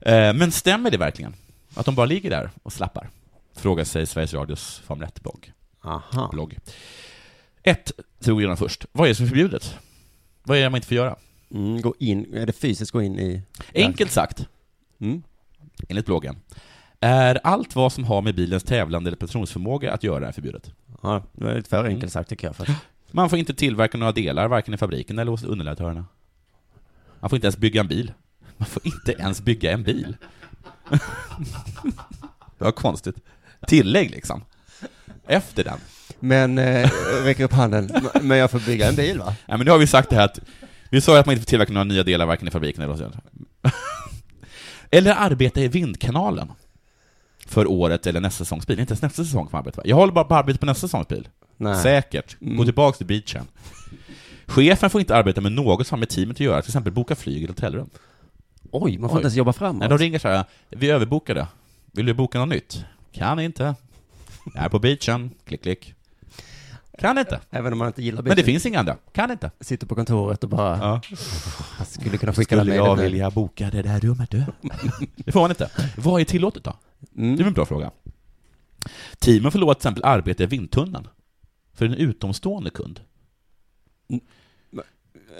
[SPEAKER 10] Eh, Men stämmer det verkligen? Att de bara ligger där och slappar? Frågar sig Sveriges Radios Formel 1-blogg.
[SPEAKER 9] Aha.
[SPEAKER 10] blogg. Ett, tog jag först. Vad är det som är förbjudet? Vad är det man inte får göra?
[SPEAKER 9] Mm, gå in, är det fysiskt gå in i...
[SPEAKER 10] Enkelt sagt,
[SPEAKER 9] Mm.
[SPEAKER 10] enligt bloggen, är allt vad som har med bilens tävlande eller prestationsförmåga att göra är förbjudet.
[SPEAKER 9] Ja, det var lite för
[SPEAKER 10] Mm.
[SPEAKER 9] enkelt sagt tycker jag. För...
[SPEAKER 10] Man får inte tillverka några delar, varken i fabriken eller hos underleverantörerna. Man får inte ens bygga en bil. Man får inte ens bygga en bil. (laughs) Det var konstigt. Tillägg liksom. Efter den.
[SPEAKER 9] Men, eh, räcker upp handen. Men jag får bygga en bil va?
[SPEAKER 10] Ja, men nu har vi sagt det här att, vi sa ju att man inte får tillverka några nya delar (laughs) varken i fabriken eller hos Eller arbeta i vindkanalen. för året eller nästa säsongs bil. Inte ens nästa säsong kommer arbeta. Jag håller bara på att arbeta på nästa säsongs bil.
[SPEAKER 9] Nej.
[SPEAKER 10] Säkert. Gå tillbaka till beachen. Chefen får inte arbeta med något som har med teamet att göra, till exempel boka flyg eller hotellrum.
[SPEAKER 9] Oj, man får inte ens jobba framåt.
[SPEAKER 10] Nej, de ringer så här, vi är överbokade. Vill du boka något nytt? Kan inte. Jag är på beachen. Klick, klick. Kan inte.
[SPEAKER 9] Även om man inte gillar
[SPEAKER 10] Men det finns inga andra. Kan inte.
[SPEAKER 9] Sitter på kontoret och bara... Jag skulle kunna skicka
[SPEAKER 10] Skulle jag
[SPEAKER 9] mejlet.
[SPEAKER 10] vilja boka det där rummet du? det får man inte. Vad är tillåtet då? Det är en bra fråga. Teamen får lov att till exempel arbeta i vindtunnan. För en utomstående kund.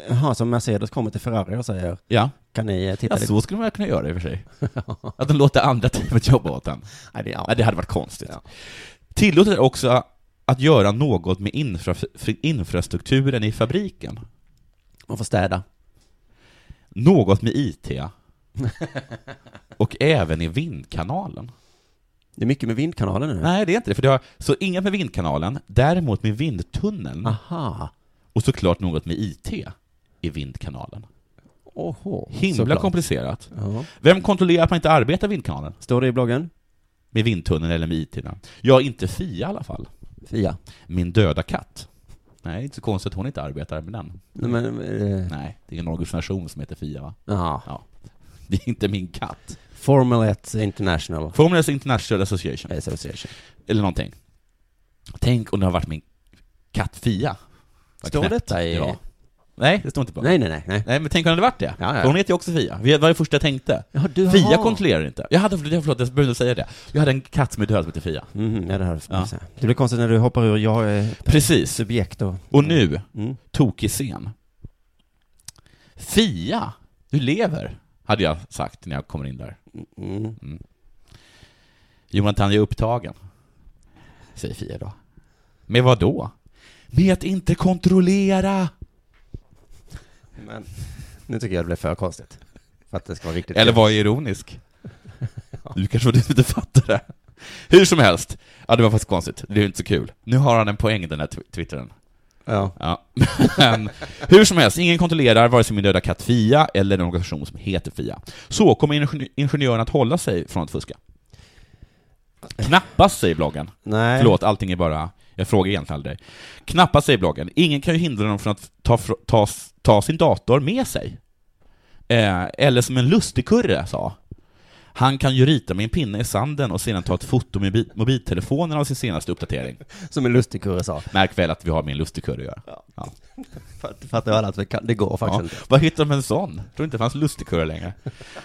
[SPEAKER 9] Jaha, som Mercedes kommer till Ferrari och säger
[SPEAKER 10] Ja.
[SPEAKER 9] Kan ni eh, titta
[SPEAKER 10] Ja, så skulle man kunna göra i och för sig. (laughs) Att de låter andra teamet jobba åt en.
[SPEAKER 9] Nej, det,
[SPEAKER 10] Nej, det hade varit konstigt. Tillåtet är också att göra något med infra, infrastrukturen i fabriken.
[SPEAKER 9] Man får städa.
[SPEAKER 10] Något med IT.
[SPEAKER 9] (laughs)
[SPEAKER 10] Och även i vindkanalen.
[SPEAKER 9] Det är mycket med vindkanalen nu.
[SPEAKER 10] Nej, det är inte det. För det har, så inget med vindkanalen, däremot med vindtunneln.
[SPEAKER 9] Ah. Aha.
[SPEAKER 10] Och såklart något med IT i vindkanalen.
[SPEAKER 9] Oho,
[SPEAKER 10] Himla
[SPEAKER 9] såklart.
[SPEAKER 10] komplicerat.
[SPEAKER 9] Ja.
[SPEAKER 10] Vem kontrollerar att man inte arbetar i vindkanalen?
[SPEAKER 9] Står det i bloggen?
[SPEAKER 10] Med vindtunneln eller med IT? då? Ja, inte Fia i alla fall.
[SPEAKER 9] Fia.
[SPEAKER 10] Min döda katt. Nej, det är inte så konstigt att hon inte arbetar med den.
[SPEAKER 9] Nej, men, eh.
[SPEAKER 10] Nej, det är en organisation som heter Fia, va?
[SPEAKER 9] Ja.
[SPEAKER 10] ja. (laughs) Det är inte min katt.
[SPEAKER 9] Formel 1 International.
[SPEAKER 10] Formulars International Association.
[SPEAKER 9] Association.
[SPEAKER 10] Eller någonting. Tänk om det har varit min katt Fia. Vad
[SPEAKER 9] Står
[SPEAKER 10] knäppt
[SPEAKER 9] detta i-
[SPEAKER 10] var. Nej, det står inte på.
[SPEAKER 9] Nej, nej, nej, nej.
[SPEAKER 10] Nej, men tänk om det hade varit det.
[SPEAKER 9] Ja, ja.
[SPEAKER 10] För Hon heter ju också Fia. Det var det första jag tänkte.
[SPEAKER 9] du
[SPEAKER 10] Fia
[SPEAKER 9] har-
[SPEAKER 10] kontrollerar inte. Jag hade, jag- förlåt, jag behövde säga det. Jag hade en katt som är död som heter Fia.
[SPEAKER 9] Mhm, ja, det, här,
[SPEAKER 10] Ja.
[SPEAKER 9] det blir konstigt när du hoppar ur jag är
[SPEAKER 10] Precis.
[SPEAKER 9] subjekt och...
[SPEAKER 10] Och nu,
[SPEAKER 9] Mm.
[SPEAKER 10] tokig scen. Fia, du lever, hade jag sagt när jag kommer in där.
[SPEAKER 9] Mm.
[SPEAKER 10] Mm. Jonathan, jag är upptagen. Säger Fia då. Med vad då? Med att inte kontrollera!
[SPEAKER 9] Men nu tycker jag det blev för konstigt. För att det ska vara riktigt
[SPEAKER 10] Eller var jag ironisk?
[SPEAKER 9] (laughs)
[SPEAKER 10] Du kanske var du som inte fattade det. Hur som helst, ja det var faktiskt konstigt, det är ju inte så kul. Nu har han en poäng den här tw- twittern.
[SPEAKER 9] Ja.
[SPEAKER 10] Ja. (laughs) Men, hur som helst, ingen kontrollerar vare sig min döda katt Fia eller en organisation som heter Fia. Så kommer ingen- ingenjören att hålla sig från att fuska. Knappast, säger bloggen.
[SPEAKER 9] Nej.
[SPEAKER 10] Förlåt, allting är bara... Jag frågar egentligen aldrig dig. Knappast, säger bloggen. Ingen kan ju hindra dem från att ta, fr- ta, s- ta sin dator med sig. Eh, eller som en lustigkurre sa. Han kan ju rita med en pinne i sanden och sedan ta ett foto med bi- mobiltelefonen av sin senaste uppdatering.
[SPEAKER 9] Som en lustig kurre sa.
[SPEAKER 10] Märk väl att vi har med en lustigkurre att göra. Ja.
[SPEAKER 9] Fatt- Fattar alla att vi kan, det går
[SPEAKER 10] Ja.
[SPEAKER 9] faktiskt
[SPEAKER 10] Vad hittar de en sån? Jag tror inte det fanns lustigkurre längre.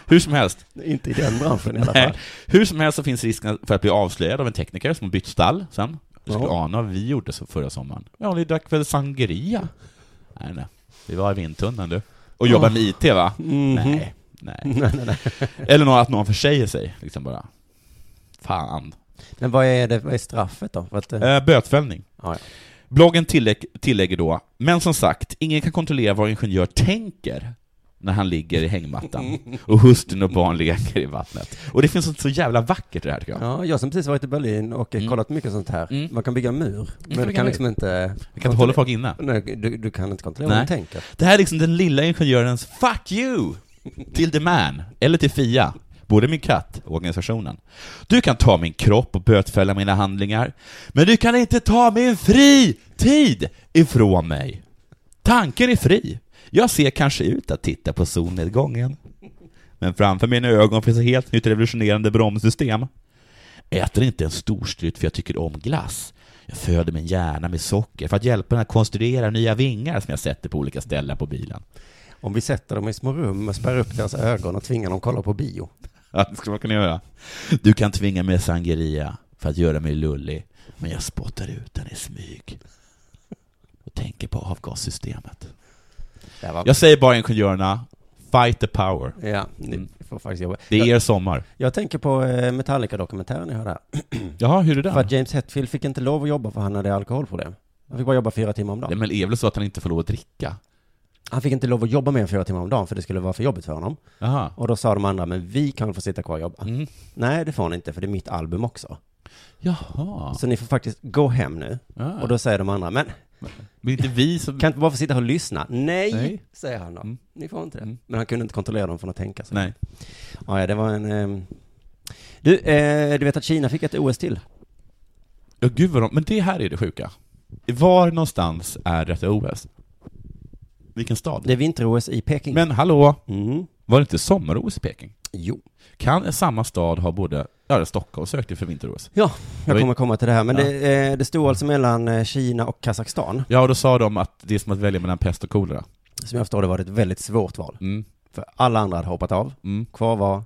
[SPEAKER 10] Hur som helst.
[SPEAKER 9] inte. Inte i den branschen i alla fall.
[SPEAKER 10] Nej. Hur som helst så finns risken för att bli avslöjad av en tekniker som har bytt stall sen. Du skulle
[SPEAKER 9] Ja.
[SPEAKER 10] ana vad vi gjorde så förra sommaren. Ja, ni drack väl sangria? Nej, nej. Vi var i vindtunnan du. Och jobbade med IT va? Nej, Mhm. (laughs) nej. Eller någon, att någon försäger sig, liksom bara. Fan.
[SPEAKER 9] Men vad är det, vad är straffet då? För att, eh,
[SPEAKER 10] Eh, bötfällning.
[SPEAKER 9] ja, ja.
[SPEAKER 10] Bloggen tillägg, tillägger då, men som sagt, ingen kan kontrollera vad en ingenjör tänker när han ligger i hängmattan och hustrun och barn leker i vattnet. Och det finns något så jävla vackert i det här tycker jag.
[SPEAKER 9] ja, jag som precis varit i Berlin och eh, kollat mycket sånt här. Man Mm. kan bygga en mur, men
[SPEAKER 10] kan
[SPEAKER 9] du
[SPEAKER 10] bygga
[SPEAKER 9] kan
[SPEAKER 10] mur.
[SPEAKER 9] liksom inte...
[SPEAKER 10] Vi kan inte hålla folk inne.
[SPEAKER 9] Nej, du, du kan inte kontrollera vad de
[SPEAKER 10] Nej.
[SPEAKER 9] tänker.
[SPEAKER 10] Det här är liksom den lilla ingenjörens ”fuck you” till the man, eller till Fia, både min katt och organisationen. Du kan ta min kropp och bötfälla mina handlingar, men du kan inte ta min fri tid ifrån mig. Tanken är fri. Jag ser kanske ut att titta på solnedgången, men framför mina ögon finns ett helt nytt revolutionerande bromssystem. Äter inte en storstrut för jag tycker om glass. Jag föder min hjärna med socker för att hjälpa den att konstruera nya vingar som jag sätter på olika ställen på bilen.
[SPEAKER 9] Om vi sätter dem i små rum och spärrar upp deras ögon och tvingar dem att kolla på bio.
[SPEAKER 10] (laughs) Ja, det ska man kunna göra. Du kan tvinga mig sangria för att göra mig lullig, men jag spottar ut den i smyg. Och tänker på avgassystemet.
[SPEAKER 9] Det här var...
[SPEAKER 10] Jag säger bara ingenjörerna, fight the power.
[SPEAKER 9] Ja, ni får faktiskt jobba.
[SPEAKER 10] Det är
[SPEAKER 9] jag,
[SPEAKER 10] er sommar.
[SPEAKER 9] jag tänker på eh, Metallica-dokumentären jag hörde här.
[SPEAKER 10] Jaha, hur är det
[SPEAKER 9] För
[SPEAKER 10] där?
[SPEAKER 9] att James Hetfield fick inte lov att jobba för han hade alkoholproblem. Han fick bara jobba fyra timmar om
[SPEAKER 10] Nej,
[SPEAKER 9] dagen.
[SPEAKER 10] men det är väl så att han inte får lov att dricka?
[SPEAKER 9] Han fick inte lov att jobba mer än fyra timmar om dagen för det skulle vara för jobbigt för honom.
[SPEAKER 10] Jaha.
[SPEAKER 9] Och då sa de andra, men vi kan få sitta kvar och jobba.
[SPEAKER 10] Mm.
[SPEAKER 9] Nej, det får ni inte för det är mitt album också.
[SPEAKER 10] Jaha.
[SPEAKER 9] Så ni får faktiskt gå hem nu.
[SPEAKER 10] Ah.
[SPEAKER 9] Och då säger de andra, men
[SPEAKER 10] Men inte vi som...
[SPEAKER 9] kan inte bara få sitta här och lyssna? Nej,
[SPEAKER 10] Nej.
[SPEAKER 9] säger han då. Ni får inte det.
[SPEAKER 10] Mm.
[SPEAKER 9] Men han kunde inte kontrollera dem från att tänka så.
[SPEAKER 10] Nej.
[SPEAKER 9] Ja, ja, det var en... ehm, Du, eh, du vet att Kina fick ett OS till?
[SPEAKER 10] Ja, gud vad de, men det här är det sjuka. Var någonstans är detta OS? Vilken stad?
[SPEAKER 9] Det är vinter-OS i Peking. Mm.
[SPEAKER 10] Men hallå? Var det inte sommar-OS i Peking?
[SPEAKER 9] Jo.
[SPEAKER 10] Kan samma stad ha både, ja, Stockholm sökte för vinter-OS?
[SPEAKER 9] Ja,
[SPEAKER 10] Det
[SPEAKER 9] jag
[SPEAKER 10] var-
[SPEAKER 9] kommer komma till det här. Men
[SPEAKER 10] Ja.
[SPEAKER 9] det, eh, det stod alltså mellan eh, Kina och Kazakstan.
[SPEAKER 10] Ja, och då sa de att det är som att välja mellan pest och kolera.
[SPEAKER 9] Som jag förstår det var det ett väldigt svårt val.
[SPEAKER 10] Mm.
[SPEAKER 9] För alla andra hade hoppat av. Kvar var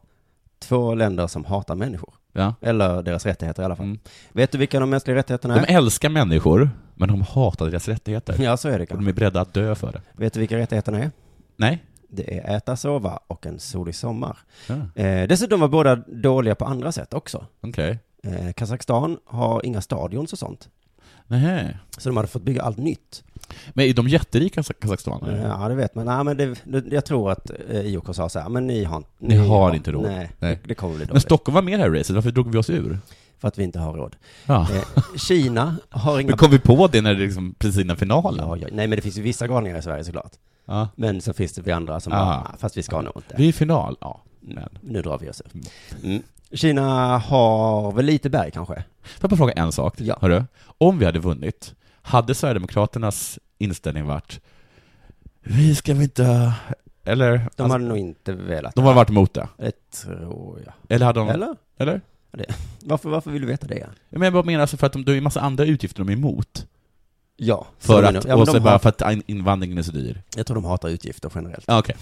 [SPEAKER 9] två länder som hatar människor.
[SPEAKER 10] Ja.
[SPEAKER 9] Eller deras rättigheter i alla fall. Vet du vilka de mänskliga rättigheterna är?
[SPEAKER 10] Mm. De älskar människor, men de hatar deras rättigheter.
[SPEAKER 9] Ja, så är det
[SPEAKER 10] Och de är beredda att dö för det.
[SPEAKER 9] Vet du vilka rättigheterna är?
[SPEAKER 10] Nej.
[SPEAKER 9] Det är äta, sova och en solig sommar.
[SPEAKER 10] Ja.
[SPEAKER 9] Eh, dessutom var båda dåliga på andra sätt också.
[SPEAKER 10] Okej.
[SPEAKER 9] Eh, Kazakstan har inga stadions och sånt.
[SPEAKER 10] Nähä.
[SPEAKER 9] Så de hade fått bygga allt nytt. Eh,
[SPEAKER 10] Men är de jätterika Kaz- Kazakstan? eller?
[SPEAKER 9] Ja, det vet man. Nej, men det, det, jag tror att eh, IOK sa så här, men ni har inte...
[SPEAKER 10] Ni har inte råd.
[SPEAKER 9] Nej,
[SPEAKER 10] Nej.
[SPEAKER 9] Det, det kommer bli
[SPEAKER 10] Men
[SPEAKER 9] dåligt.
[SPEAKER 10] Stockholm var med i det här racet, varför drog vi oss ur?
[SPEAKER 9] För att vi inte har råd.
[SPEAKER 10] Ja.
[SPEAKER 9] Eh, Kina har inga...
[SPEAKER 10] Men kom vi på det när det liksom precis innan finalen?
[SPEAKER 9] Ja, ja, nej, men det finns ju vissa galningar i Sverige såklart.
[SPEAKER 10] Ja.
[SPEAKER 9] Men så finns det vi andra som
[SPEAKER 10] Ja.
[SPEAKER 9] bara, "Ah, fast vi ska nog inte.
[SPEAKER 10] Vi är i final, ja.
[SPEAKER 9] Mm, Nu drar vi oss ur. Mm. Kina har väl lite berg kanske?
[SPEAKER 10] Får jag bara fråga en sak?
[SPEAKER 9] Ja.
[SPEAKER 10] Hörru, om vi hade vunnit, hade Sverigedemokraternas inställning varit Vi ska väl inte... Eller? alltså,
[SPEAKER 9] De hade nog inte velat.
[SPEAKER 10] De hade varit emot det?
[SPEAKER 9] Det tror jag.
[SPEAKER 10] Eller hade de...
[SPEAKER 9] Eller?
[SPEAKER 10] Eller?
[SPEAKER 9] Det. Varför, varför vill du veta det?
[SPEAKER 10] Men jag bara menar alltså för att de, det är ju massa andra utgifter de är emot.
[SPEAKER 9] Ja. så
[SPEAKER 10] För
[SPEAKER 9] menar
[SPEAKER 10] att,
[SPEAKER 9] jag. Ja, men
[SPEAKER 10] och
[SPEAKER 9] de
[SPEAKER 10] så bara
[SPEAKER 9] har-
[SPEAKER 10] för att in- invandringen är så dyr.
[SPEAKER 9] Jag tror de hatar utgifter generellt.
[SPEAKER 10] Ja, okej.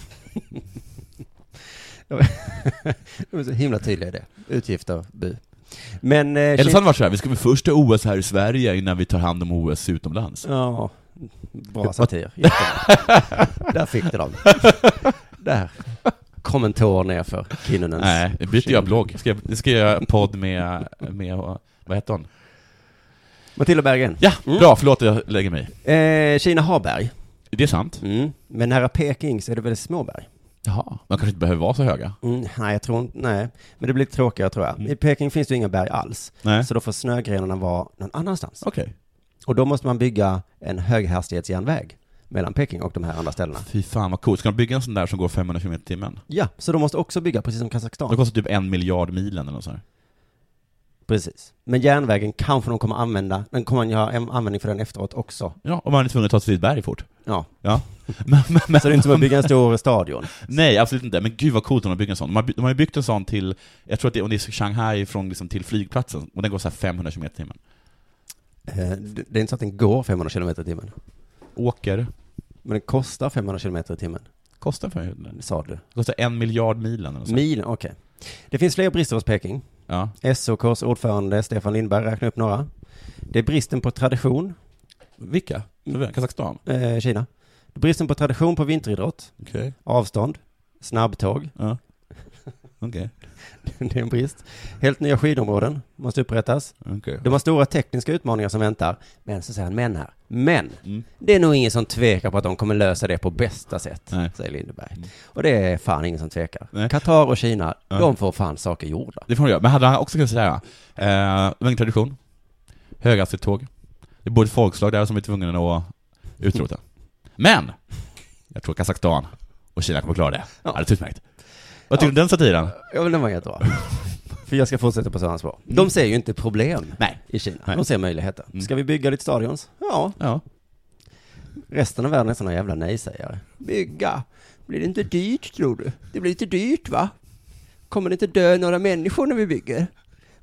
[SPEAKER 9] de är så himla tydliga i det. Utgifter, bu. Men... Eh,
[SPEAKER 10] Eller så
[SPEAKER 9] Kina-
[SPEAKER 10] hade det varit så här, vi ska väl först ha OS här i Sverige innan vi tar hand om OS utomlands.
[SPEAKER 9] Ja, bra
[SPEAKER 10] Vad-
[SPEAKER 9] (laughs) satir. Jättebra. Där fick du dem. Där. Kom en tår ner för Kinnunens.
[SPEAKER 10] Nej, nu byter jag blogg. Ska jag, ska jag göra podd med, med, vad heter hon?
[SPEAKER 9] Matilda Berggren.
[SPEAKER 10] Ja, bra, förlåt jag lägger mig.
[SPEAKER 9] Eh, Kina har berg.
[SPEAKER 10] Det är sant.
[SPEAKER 9] Mm. Men nära Peking så är det väldigt små berg.
[SPEAKER 10] Jaha, man kanske inte behöver vara så höga.
[SPEAKER 9] Mm, nej, jag tror inte, nej. Men det blir lite tråkigare tror jag. I Peking finns det ju inga berg alls.
[SPEAKER 10] Nej.
[SPEAKER 9] Så då får snögrenarna vara någon annanstans.
[SPEAKER 10] Okej.
[SPEAKER 9] Och då måste man bygga en höghastighetsjärnväg mellan Peking och de här andra ställena.
[SPEAKER 10] Fy fan vad coolt. Ska de bygga en sån där som går 500 km i timmen?
[SPEAKER 9] Ja, så de måste också bygga, precis som Kazakstan.
[SPEAKER 10] Det kostar typ en miljard milen eller något sånt.
[SPEAKER 9] Precis. Men järnvägen kanske de kommer använda, den kommer man ju ha en användning för den efteråt också.
[SPEAKER 10] Ja, och man är tvungen att ta sig till ett berg fort.
[SPEAKER 9] Ja.
[SPEAKER 10] (laughs) Ja. Men, men, men,
[SPEAKER 9] Så det är inte som att bygga en stor stadion.
[SPEAKER 10] Nej, absolut inte. Men gud vad coolt om de bygger en sån. De har, by- de har ju byggt en sån till, jag tror att det, om det är Shanghai från liksom till flygplatsen, och den går så här 500 km i timmen.
[SPEAKER 9] Eh, Det det är inte så att den går 500 km i timmen.
[SPEAKER 10] Åker,
[SPEAKER 9] Men den kostar 500 km i timmen,
[SPEAKER 10] kostar för den.
[SPEAKER 9] sa du.
[SPEAKER 10] Kostar en miljard milen eller något sånt.
[SPEAKER 9] Milen, okej. Det finns fler brister hos Peking.
[SPEAKER 10] Ja.
[SPEAKER 9] SOKs ordförande Stefan Lindberg räknar upp några. Det är bristen på tradition,
[SPEAKER 10] Vilka? Kazakstan?
[SPEAKER 9] eh, Kina. Det är bristen på tradition på vinteridrott,
[SPEAKER 10] Okej.
[SPEAKER 9] avstånd, snabbtåg, (laughs)
[SPEAKER 10] Ja. Okej.
[SPEAKER 9] det är en brist. Helt nya skidområden måste upprättas.
[SPEAKER 10] Okej.
[SPEAKER 9] De har stora tekniska utmaningar som väntar, men så säger han men här. Men,
[SPEAKER 10] Mm.
[SPEAKER 9] det är nog ingen som tvekar på att de kommer lösa det på bästa sätt,
[SPEAKER 10] Nej. Mm.
[SPEAKER 9] säger Lindberg. Och det är fan ingen som tvekar.
[SPEAKER 10] Nej.
[SPEAKER 9] Qatar och Kina,
[SPEAKER 10] Ja.
[SPEAKER 9] de får fan saker gjorda.
[SPEAKER 10] Det får de göra. Men hade han också kunnat säga, eh, ingen tradition, höghastighetståg, det bor ett folkslag där som är tvungna att utrota. Men! Jag tror Kazakstan och Kina kommer klara det.
[SPEAKER 9] Ja.
[SPEAKER 10] Alldeles utmärkt. Vad tycker du om den satiren?
[SPEAKER 9] Ja, men den
[SPEAKER 10] (laughs)
[SPEAKER 9] var jättebra. För jag ska fortsätta på sådana svar. De ser ju inte problem
[SPEAKER 10] Nej.
[SPEAKER 9] i Kina.
[SPEAKER 10] Nej. Mm.
[SPEAKER 9] De ser möjligheter. Ska vi bygga lite stadions? Ja.
[SPEAKER 10] Ja.
[SPEAKER 9] Resten av världen är sådana jävla nej-sägare. Bygga? Blir det inte dyrt, tror du? Det blir lite dyrt, va? Kommer det inte dö några människor när vi bygger?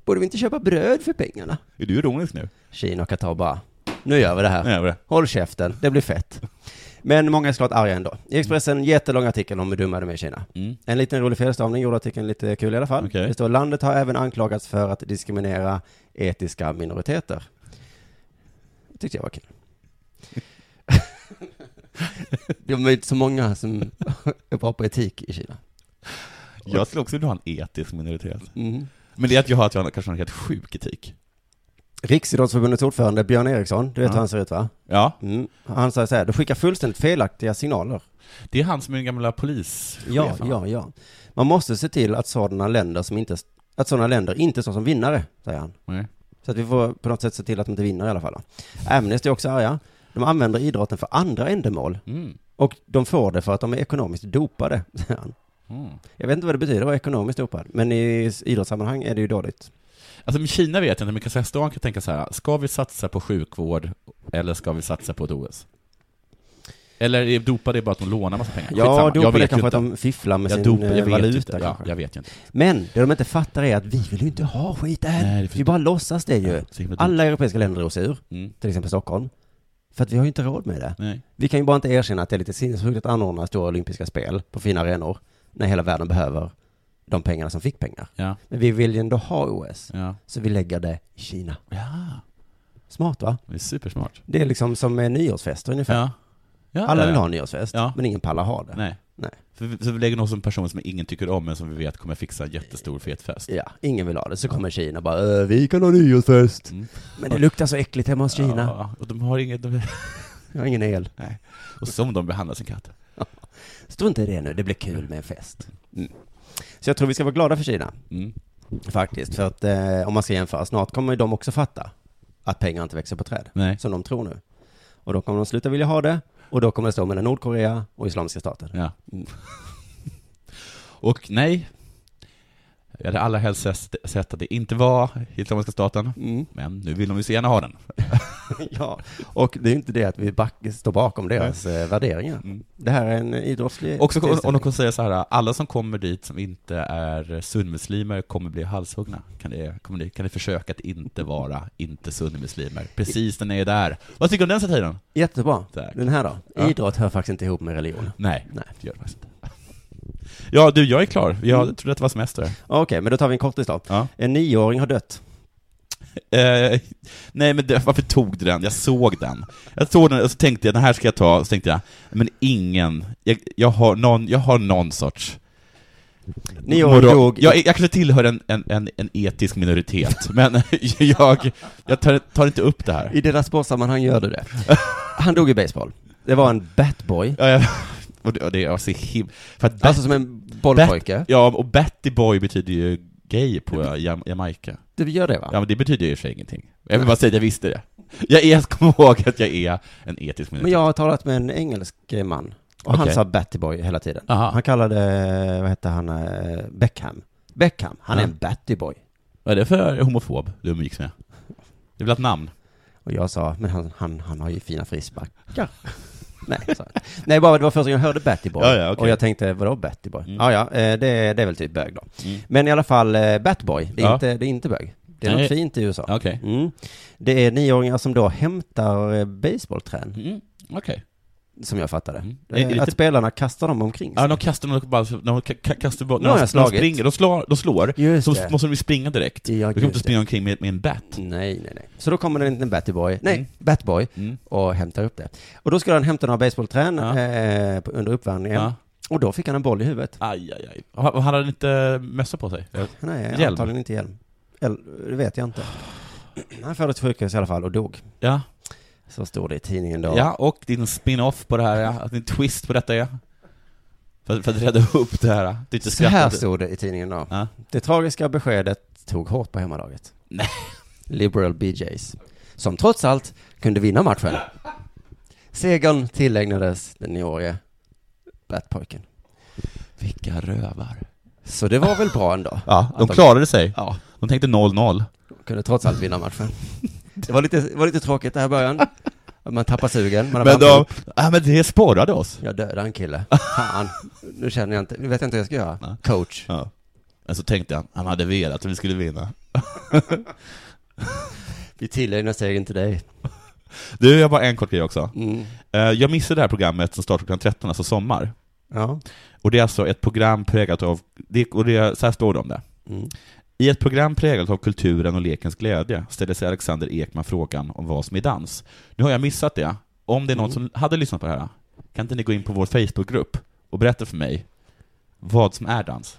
[SPEAKER 9] Borde vi inte köpa bröd för pengarna?
[SPEAKER 10] Är du ironisk nu?
[SPEAKER 9] Kina och Qatar bara, nu gör vi det här.
[SPEAKER 10] Nu gör vi det.
[SPEAKER 9] Håll käften, det blir fett. Men många är såklart arga ändå. I Expressen, jättelång artikel om hur dumma de är i Kina.
[SPEAKER 10] Mm.
[SPEAKER 9] En liten rolig felstavning gjorde artikeln lite kul i alla fall.
[SPEAKER 10] Okej.
[SPEAKER 9] Det står, landet har även anklagats för att diskriminera etiska minoriteter. Det tyckte
[SPEAKER 10] (laughs)
[SPEAKER 9] jag var kul. De är inte så många som är bra på etik i Kina.
[SPEAKER 10] Jag skulle också vilja ha en etisk minoritet.
[SPEAKER 9] Mm.
[SPEAKER 10] Men det är att jag har att jag har kanske har en helt sjuk etik.
[SPEAKER 9] Riksidrottsförbundets ordförande Björn Eriksson, du vet
[SPEAKER 10] Ja.
[SPEAKER 9] hur han ser ut va?
[SPEAKER 10] Ja,
[SPEAKER 9] Mm. Han sa så här, du skickar fullständigt felaktiga signaler.
[SPEAKER 10] det är han som är den gamla polischefen.
[SPEAKER 9] Ja, ja, ja. Man måste se till att sådana länder som inte, att sådana länder inte står som vinnare, säger han.
[SPEAKER 10] Nej.
[SPEAKER 9] Så att vi får på något sätt se till att de inte vinner i alla fall. då. Amnesty är också arga. De använder idrotten för andra ändamål.
[SPEAKER 10] Mm.
[SPEAKER 9] Och de får det för att de är ekonomiskt dopade, säger han.
[SPEAKER 10] Mm.
[SPEAKER 9] Jag vet inte vad det betyder att vara ekonomiskt dopad, men i idrottssammanhang är det ju dåligt.
[SPEAKER 10] Alltså med Kina vet jag inte, men Kazakstan kan tänka så här, ska vi satsa på sjukvård eller ska vi satsa på ett OS? Eller är dopade bara att de lånar massa pengar?
[SPEAKER 9] Ja,
[SPEAKER 10] jag
[SPEAKER 9] dopade
[SPEAKER 10] vet ju
[SPEAKER 9] kanske att
[SPEAKER 10] inte.
[SPEAKER 9] de fifflar med
[SPEAKER 10] Ja,
[SPEAKER 9] sin
[SPEAKER 10] dopade, jag
[SPEAKER 9] eh,
[SPEAKER 10] vet
[SPEAKER 9] valuta
[SPEAKER 10] inte. Ja,
[SPEAKER 9] kanske.
[SPEAKER 10] jag vet ju inte.
[SPEAKER 9] Men det de inte fattar är att vi vill ju inte ha skit än. vi bara låtsas det ju.
[SPEAKER 10] himla dumt.
[SPEAKER 9] Alla europeiska länder drog sig ur,
[SPEAKER 10] Mm.
[SPEAKER 9] till exempel Stockholm. För att vi har ju inte råd med det.
[SPEAKER 10] Nej.
[SPEAKER 9] Vi kan ju bara inte erkänna att det är lite sinnessjukt att anordna stora olympiska spel på fina arenor när hela världen behöver de pengarna som fick pengar.
[SPEAKER 10] Ja.
[SPEAKER 9] Men vi vill ju ändå ha OS,
[SPEAKER 10] Ja.
[SPEAKER 9] så vi lägger det i Kina.
[SPEAKER 10] Ja.
[SPEAKER 9] Smart va?
[SPEAKER 10] Det är supersmart.
[SPEAKER 9] Det är liksom som eh, nyårsfester ungefär.
[SPEAKER 10] Ja. Ja,
[SPEAKER 9] Alla
[SPEAKER 10] ja,
[SPEAKER 9] vill
[SPEAKER 10] ja.
[SPEAKER 9] ha en nyårsfest,
[SPEAKER 10] Ja.
[SPEAKER 9] men ingen pallar ha det.
[SPEAKER 10] Nej.
[SPEAKER 9] Nej.
[SPEAKER 10] För vi, så vi lägger någon som person som ingen tycker om, men som vi vet kommer fixa en jättestor fet fest.
[SPEAKER 9] Ja, ingen vill ha det. Så kommer Kina och bara äh, vi kan ha nyårsfest.
[SPEAKER 10] Mm.
[SPEAKER 9] Men det luktar så äckligt hemma hos Kina.
[SPEAKER 10] Ja, och de har ingen... De... (laughs)
[SPEAKER 9] Jag har ingen el.
[SPEAKER 10] Nej. Och som de behandlar sin katt.
[SPEAKER 9] Strunt i det nu, det blir kul med en fest. Mm. Så jag tror vi ska vara glada för Kina.
[SPEAKER 10] Mm.
[SPEAKER 9] Faktiskt, för att eh, om man ska jämföra, snart kommer ju de också fatta att pengar inte växer på träd.
[SPEAKER 10] Nej.
[SPEAKER 9] Som de tror nu. Och då kommer de sluta vilja ha det, och då kommer det stå mellan Nordkorea och Islamiska staten.
[SPEAKER 10] Ja. Och nej, jag hade allra helst sett- sett att det inte var Islamiska staten, men nu vill de ju så gärna ha den.
[SPEAKER 9] (laughs) ja, och det är ju inte det att vi back, står bakom deras eh, värderingar. Det här är en idrottslig
[SPEAKER 10] Mm. Och så, om de
[SPEAKER 9] tillställning.
[SPEAKER 10] kommer säga så här, alla som kommer dit som inte är sunnmuslimer kommer bli halshuggna. Kan ni, kommer ni, kan ni försöka att inte vara inte sunnmuslimer? Precis när ni är där. Vad tycker du om den satiren?
[SPEAKER 9] Jättebra.
[SPEAKER 10] Tack.
[SPEAKER 9] Den här då?
[SPEAKER 10] Ja.
[SPEAKER 9] Idrott hör faktiskt inte ihop med religion.
[SPEAKER 10] Nej,
[SPEAKER 9] Nej.
[SPEAKER 10] det gör det faktiskt inte. Ja, du, jag är klar. Jag trodde att det var semester.
[SPEAKER 9] Okej, men då tar vi en kortis då.
[SPEAKER 10] Ja.
[SPEAKER 9] En nioåring har dött.
[SPEAKER 10] Eh, nej men det, varför tog du den? Jag såg den. Jag såg den och så tänkte jag, den här ska jag ta, så tänkte jag, men ingen, jag, jag, har, någon, jag har någon sorts...
[SPEAKER 9] Nioåring
[SPEAKER 10] moral-
[SPEAKER 9] dog i-
[SPEAKER 10] Jag, jag kanske tillhör en, en, en, en etisk minoritet, (laughs) men jag, jag tar, tar inte upp det här.
[SPEAKER 9] I deras sportsammanhang gör du det. (laughs) Han dog i baseball. Det var en batboy.
[SPEAKER 10] Ja, jag, och det, och det jag ser him- för att
[SPEAKER 9] Alltså
[SPEAKER 10] Bat-
[SPEAKER 9] som en bollpojke.
[SPEAKER 10] Bat- Ja, och Batty Boy betyder ju gay på Jam- Jamaica.
[SPEAKER 9] Du gör det va?
[SPEAKER 10] Ja, men det betyder ju i och för sig ingenting. Jag vill bara säga att jag visste det. Jag, är, jag kommer ihåg att jag är en etisk minoritet.
[SPEAKER 9] Men jag har talat med en engelsk man. Och han
[SPEAKER 10] Okej.
[SPEAKER 9] sa Battyboy hela tiden.
[SPEAKER 10] Aha.
[SPEAKER 9] Han kallade, vad hette han, eh, Beckham. Beckham, han är
[SPEAKER 10] Ja.
[SPEAKER 9] en Battyboy.
[SPEAKER 10] Vad är det för homofob du umgicks med? Det är väl ett namn?
[SPEAKER 9] Och jag sa, men han, han, han har ju fina frisparkar. (laughs) Nej, sa jag. Nej, bara det var första gången jag hörde Battyboy.
[SPEAKER 10] Ja, ja, okej.
[SPEAKER 9] Och jag tänkte, vadå Battyboy?
[SPEAKER 10] Mm.
[SPEAKER 9] Ja, ja, eh, det, är- det är väl typ bög då.
[SPEAKER 10] Mm.
[SPEAKER 9] Men i alla fall, eh, Batboy, det är,
[SPEAKER 10] Ja.
[SPEAKER 9] inte, det är inte bög. Det är
[SPEAKER 10] Nej.
[SPEAKER 9] något fint i USA.
[SPEAKER 10] Okej.
[SPEAKER 9] Mm. Det är nioåringar som då hämtar eh, baseballträn,
[SPEAKER 10] Mm. Okej.
[SPEAKER 9] som jag fattade.
[SPEAKER 10] Mm.
[SPEAKER 9] Eh,
[SPEAKER 10] Är det lite-
[SPEAKER 9] Att spelarna kastar dem omkring sig.
[SPEAKER 10] Ja, de kastar nog bara, de ka- ka- kastar bort,
[SPEAKER 9] Nu har
[SPEAKER 10] när de,
[SPEAKER 9] jag
[SPEAKER 10] när de
[SPEAKER 9] slagit.
[SPEAKER 10] springer, de slår, de slår
[SPEAKER 9] Just
[SPEAKER 10] så
[SPEAKER 9] det.
[SPEAKER 10] måste de ju springa direkt.
[SPEAKER 9] Ja,
[SPEAKER 10] de kan
[SPEAKER 9] just
[SPEAKER 10] inte springa omkring med, med en bat.
[SPEAKER 9] Nej, nej, nej. Så då kommer det en liten Batboy, nej,
[SPEAKER 10] Mm.
[SPEAKER 9] Batboy,
[SPEAKER 10] Mm.
[SPEAKER 9] och hämtar upp det. Och då skulle han hämta några baseballträn
[SPEAKER 10] Ja.
[SPEAKER 9] eh, på- under uppvärmningen.
[SPEAKER 10] Ja.
[SPEAKER 9] Och då fick han en boll i huvudet.
[SPEAKER 10] Aj, aj, aj. Och Han och han hade inte mössa på sig?
[SPEAKER 9] Nej,
[SPEAKER 10] Hjälm.
[SPEAKER 9] antagligen inte hjälm. Eller, det vet
[SPEAKER 10] (sighs)
[SPEAKER 9] jag inte. Han fördes till sjukhus i alla fall och dog.
[SPEAKER 10] Ja.
[SPEAKER 9] Så stod det i tidningen då.
[SPEAKER 10] ja, och din spin-off på det här, ja. din twist på detta är? För, för att rädda upp det här, ja. du inte
[SPEAKER 9] Så här
[SPEAKER 10] skrattade.
[SPEAKER 9] stod det i tidningen då.
[SPEAKER 10] Ja.
[SPEAKER 9] Det tragiska beskedet tog hårt på hemmalaget.
[SPEAKER 10] Nej.
[SPEAKER 9] Liberal BJs. Som trots allt kunde vinna matchen. Segern tillägnades den nioårige Batpojken.
[SPEAKER 10] Vilka rövar.
[SPEAKER 9] Så det var väl bra ändå?
[SPEAKER 10] Ja, de
[SPEAKER 9] Att
[SPEAKER 10] klarade sig.
[SPEAKER 9] Ja,
[SPEAKER 10] De tänkte 0-0.
[SPEAKER 9] kunde trots allt
[SPEAKER 10] (laughs)
[SPEAKER 9] vinna matchen. Det var lite, var lite tråkigt det här i början. Man tappar sugen. Man har
[SPEAKER 10] Men,
[SPEAKER 9] värmt
[SPEAKER 10] de,
[SPEAKER 9] upp.
[SPEAKER 10] ja, men det sporrade oss.
[SPEAKER 9] Jag dödar en kille.
[SPEAKER 10] (laughs)
[SPEAKER 9] Fan. Nu känner jag inte, nu vet jag inte vad jag ska göra.
[SPEAKER 10] Nej.
[SPEAKER 9] Coach.
[SPEAKER 10] Ja. Men så tänkte han, han hade velat att vi skulle vinna.
[SPEAKER 9] Vi tillägnar segern till dig.
[SPEAKER 10] Du, jag har bara en kort grej också.
[SPEAKER 9] Mm.
[SPEAKER 10] Eh, Jag missade det här programmet som startar klockan 13, alltså sommar.
[SPEAKER 9] Ja.
[SPEAKER 10] Och det är alltså ett program präglat av, det- och det, så här står det om det.
[SPEAKER 9] Mm.
[SPEAKER 10] I ett program präglat av kulturen och lekens glädje ställer sig Alexander Ekman frågan om vad som är dans. Nu har jag missat det. Om det är någon som hade lyssnat på det här, kan inte ni gå in på vår Facebookgrupp och berätta för mig vad som är dans?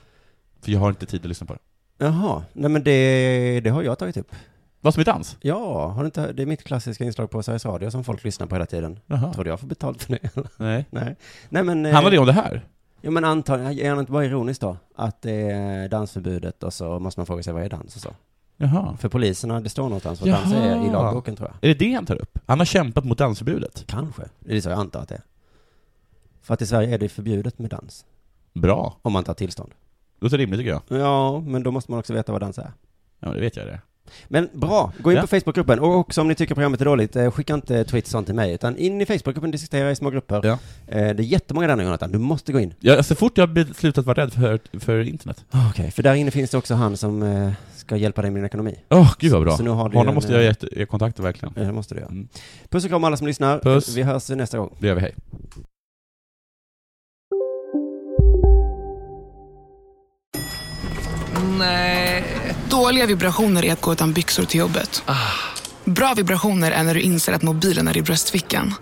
[SPEAKER 10] För jag har inte tid att lyssna på det.
[SPEAKER 9] Jaha, nej men det, det har jag tagit upp.
[SPEAKER 10] Vad som är dans?
[SPEAKER 9] Ja, har du inte, det är mitt klassiska inslag på Sveriges Radio som folk lyssnar på hela tiden.
[SPEAKER 10] Jaha.
[SPEAKER 9] Tror du jag får betalt för det? (laughs)
[SPEAKER 10] Nej.
[SPEAKER 9] nej. nej men... eh,
[SPEAKER 10] Handlar det om det här?
[SPEAKER 9] Ja men antagligen, är det inte bara ironiskt då? Att det är dansförbudet och så måste man fråga sig vad är dans och så.
[SPEAKER 10] Jaha.
[SPEAKER 9] För poliserna, det står någonstans vad
[SPEAKER 10] Jaha.
[SPEAKER 9] dans är i lagboken tror jag.
[SPEAKER 10] Är det det han tar upp? Han har kämpat mot dansförbudet?
[SPEAKER 9] Kanske. Det är så jag antar att det är. För att i Sverige är det förbjudet med dans.
[SPEAKER 10] Bra.
[SPEAKER 9] Om man tar tillstånd.
[SPEAKER 10] Låter rimligt tycker jag.
[SPEAKER 9] Ja, men då måste man också veta vad dans är.
[SPEAKER 10] Ja, men det vet jag det.
[SPEAKER 9] Men bra, gå in
[SPEAKER 10] Ja.
[SPEAKER 9] på Facebookgruppen och också om ni tycker programmet är dåligt, eh, skicka inte tweets och sånt till mig, utan in i Facebookgruppen, diskutera i små grupper. Eh, Det är jättemånga där nu Jonathan, du måste gå in.
[SPEAKER 10] Ja, alltså, så fort jag har slutat vara rädd för, för internet.
[SPEAKER 9] Okej, för där inne finns det också han som eh, ska hjälpa dig med din ekonomi.
[SPEAKER 10] Åh, gud vad bra.
[SPEAKER 9] Så nu har du
[SPEAKER 10] Honom
[SPEAKER 9] en,
[SPEAKER 10] måste
[SPEAKER 9] eh,
[SPEAKER 10] jag ge- ge kontakter verkligen.
[SPEAKER 9] Ja, det måste du göra. Puss och kram alla som lyssnar.
[SPEAKER 10] Puss.
[SPEAKER 9] Vi hörs nästa gång.
[SPEAKER 10] Det gör vi, hej.
[SPEAKER 4] Nej. Dåliga vibrationer är att gå utan byxor till jobbet. Bra vibrationer är när du inser att mobilen är i bröstfickan.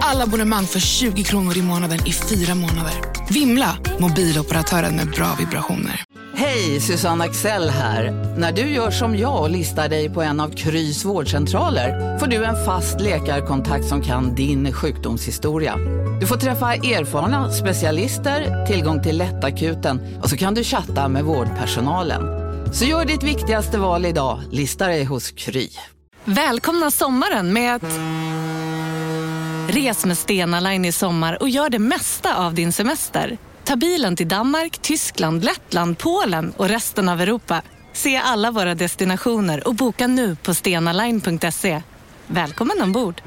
[SPEAKER 4] Alla abonnemang för 20 kronor i månaden i fyra månader. Vimla! Mobiloperatören med bra vibrationer.
[SPEAKER 13] Hej, Susanne Axel här. När du gör som jag och listar dig på en av Krys vårdcentraler får du en fast läkarkontakt som kan din sjukdomshistoria. Du får träffa erfarna specialister, tillgång till lättakuten och så kan du chatta med vårdpersonalen. Så gör ditt viktigaste val idag, lista dig hos Kry.
[SPEAKER 14] Välkomna sommaren med att... Res med Stena Line i sommar och gör det mesta av din semester. Ta bilen till Danmark, Tyskland, Lettland, Polen och resten av Europa. Se alla våra destinationer och boka nu på stenaline.se. Välkommen ombord!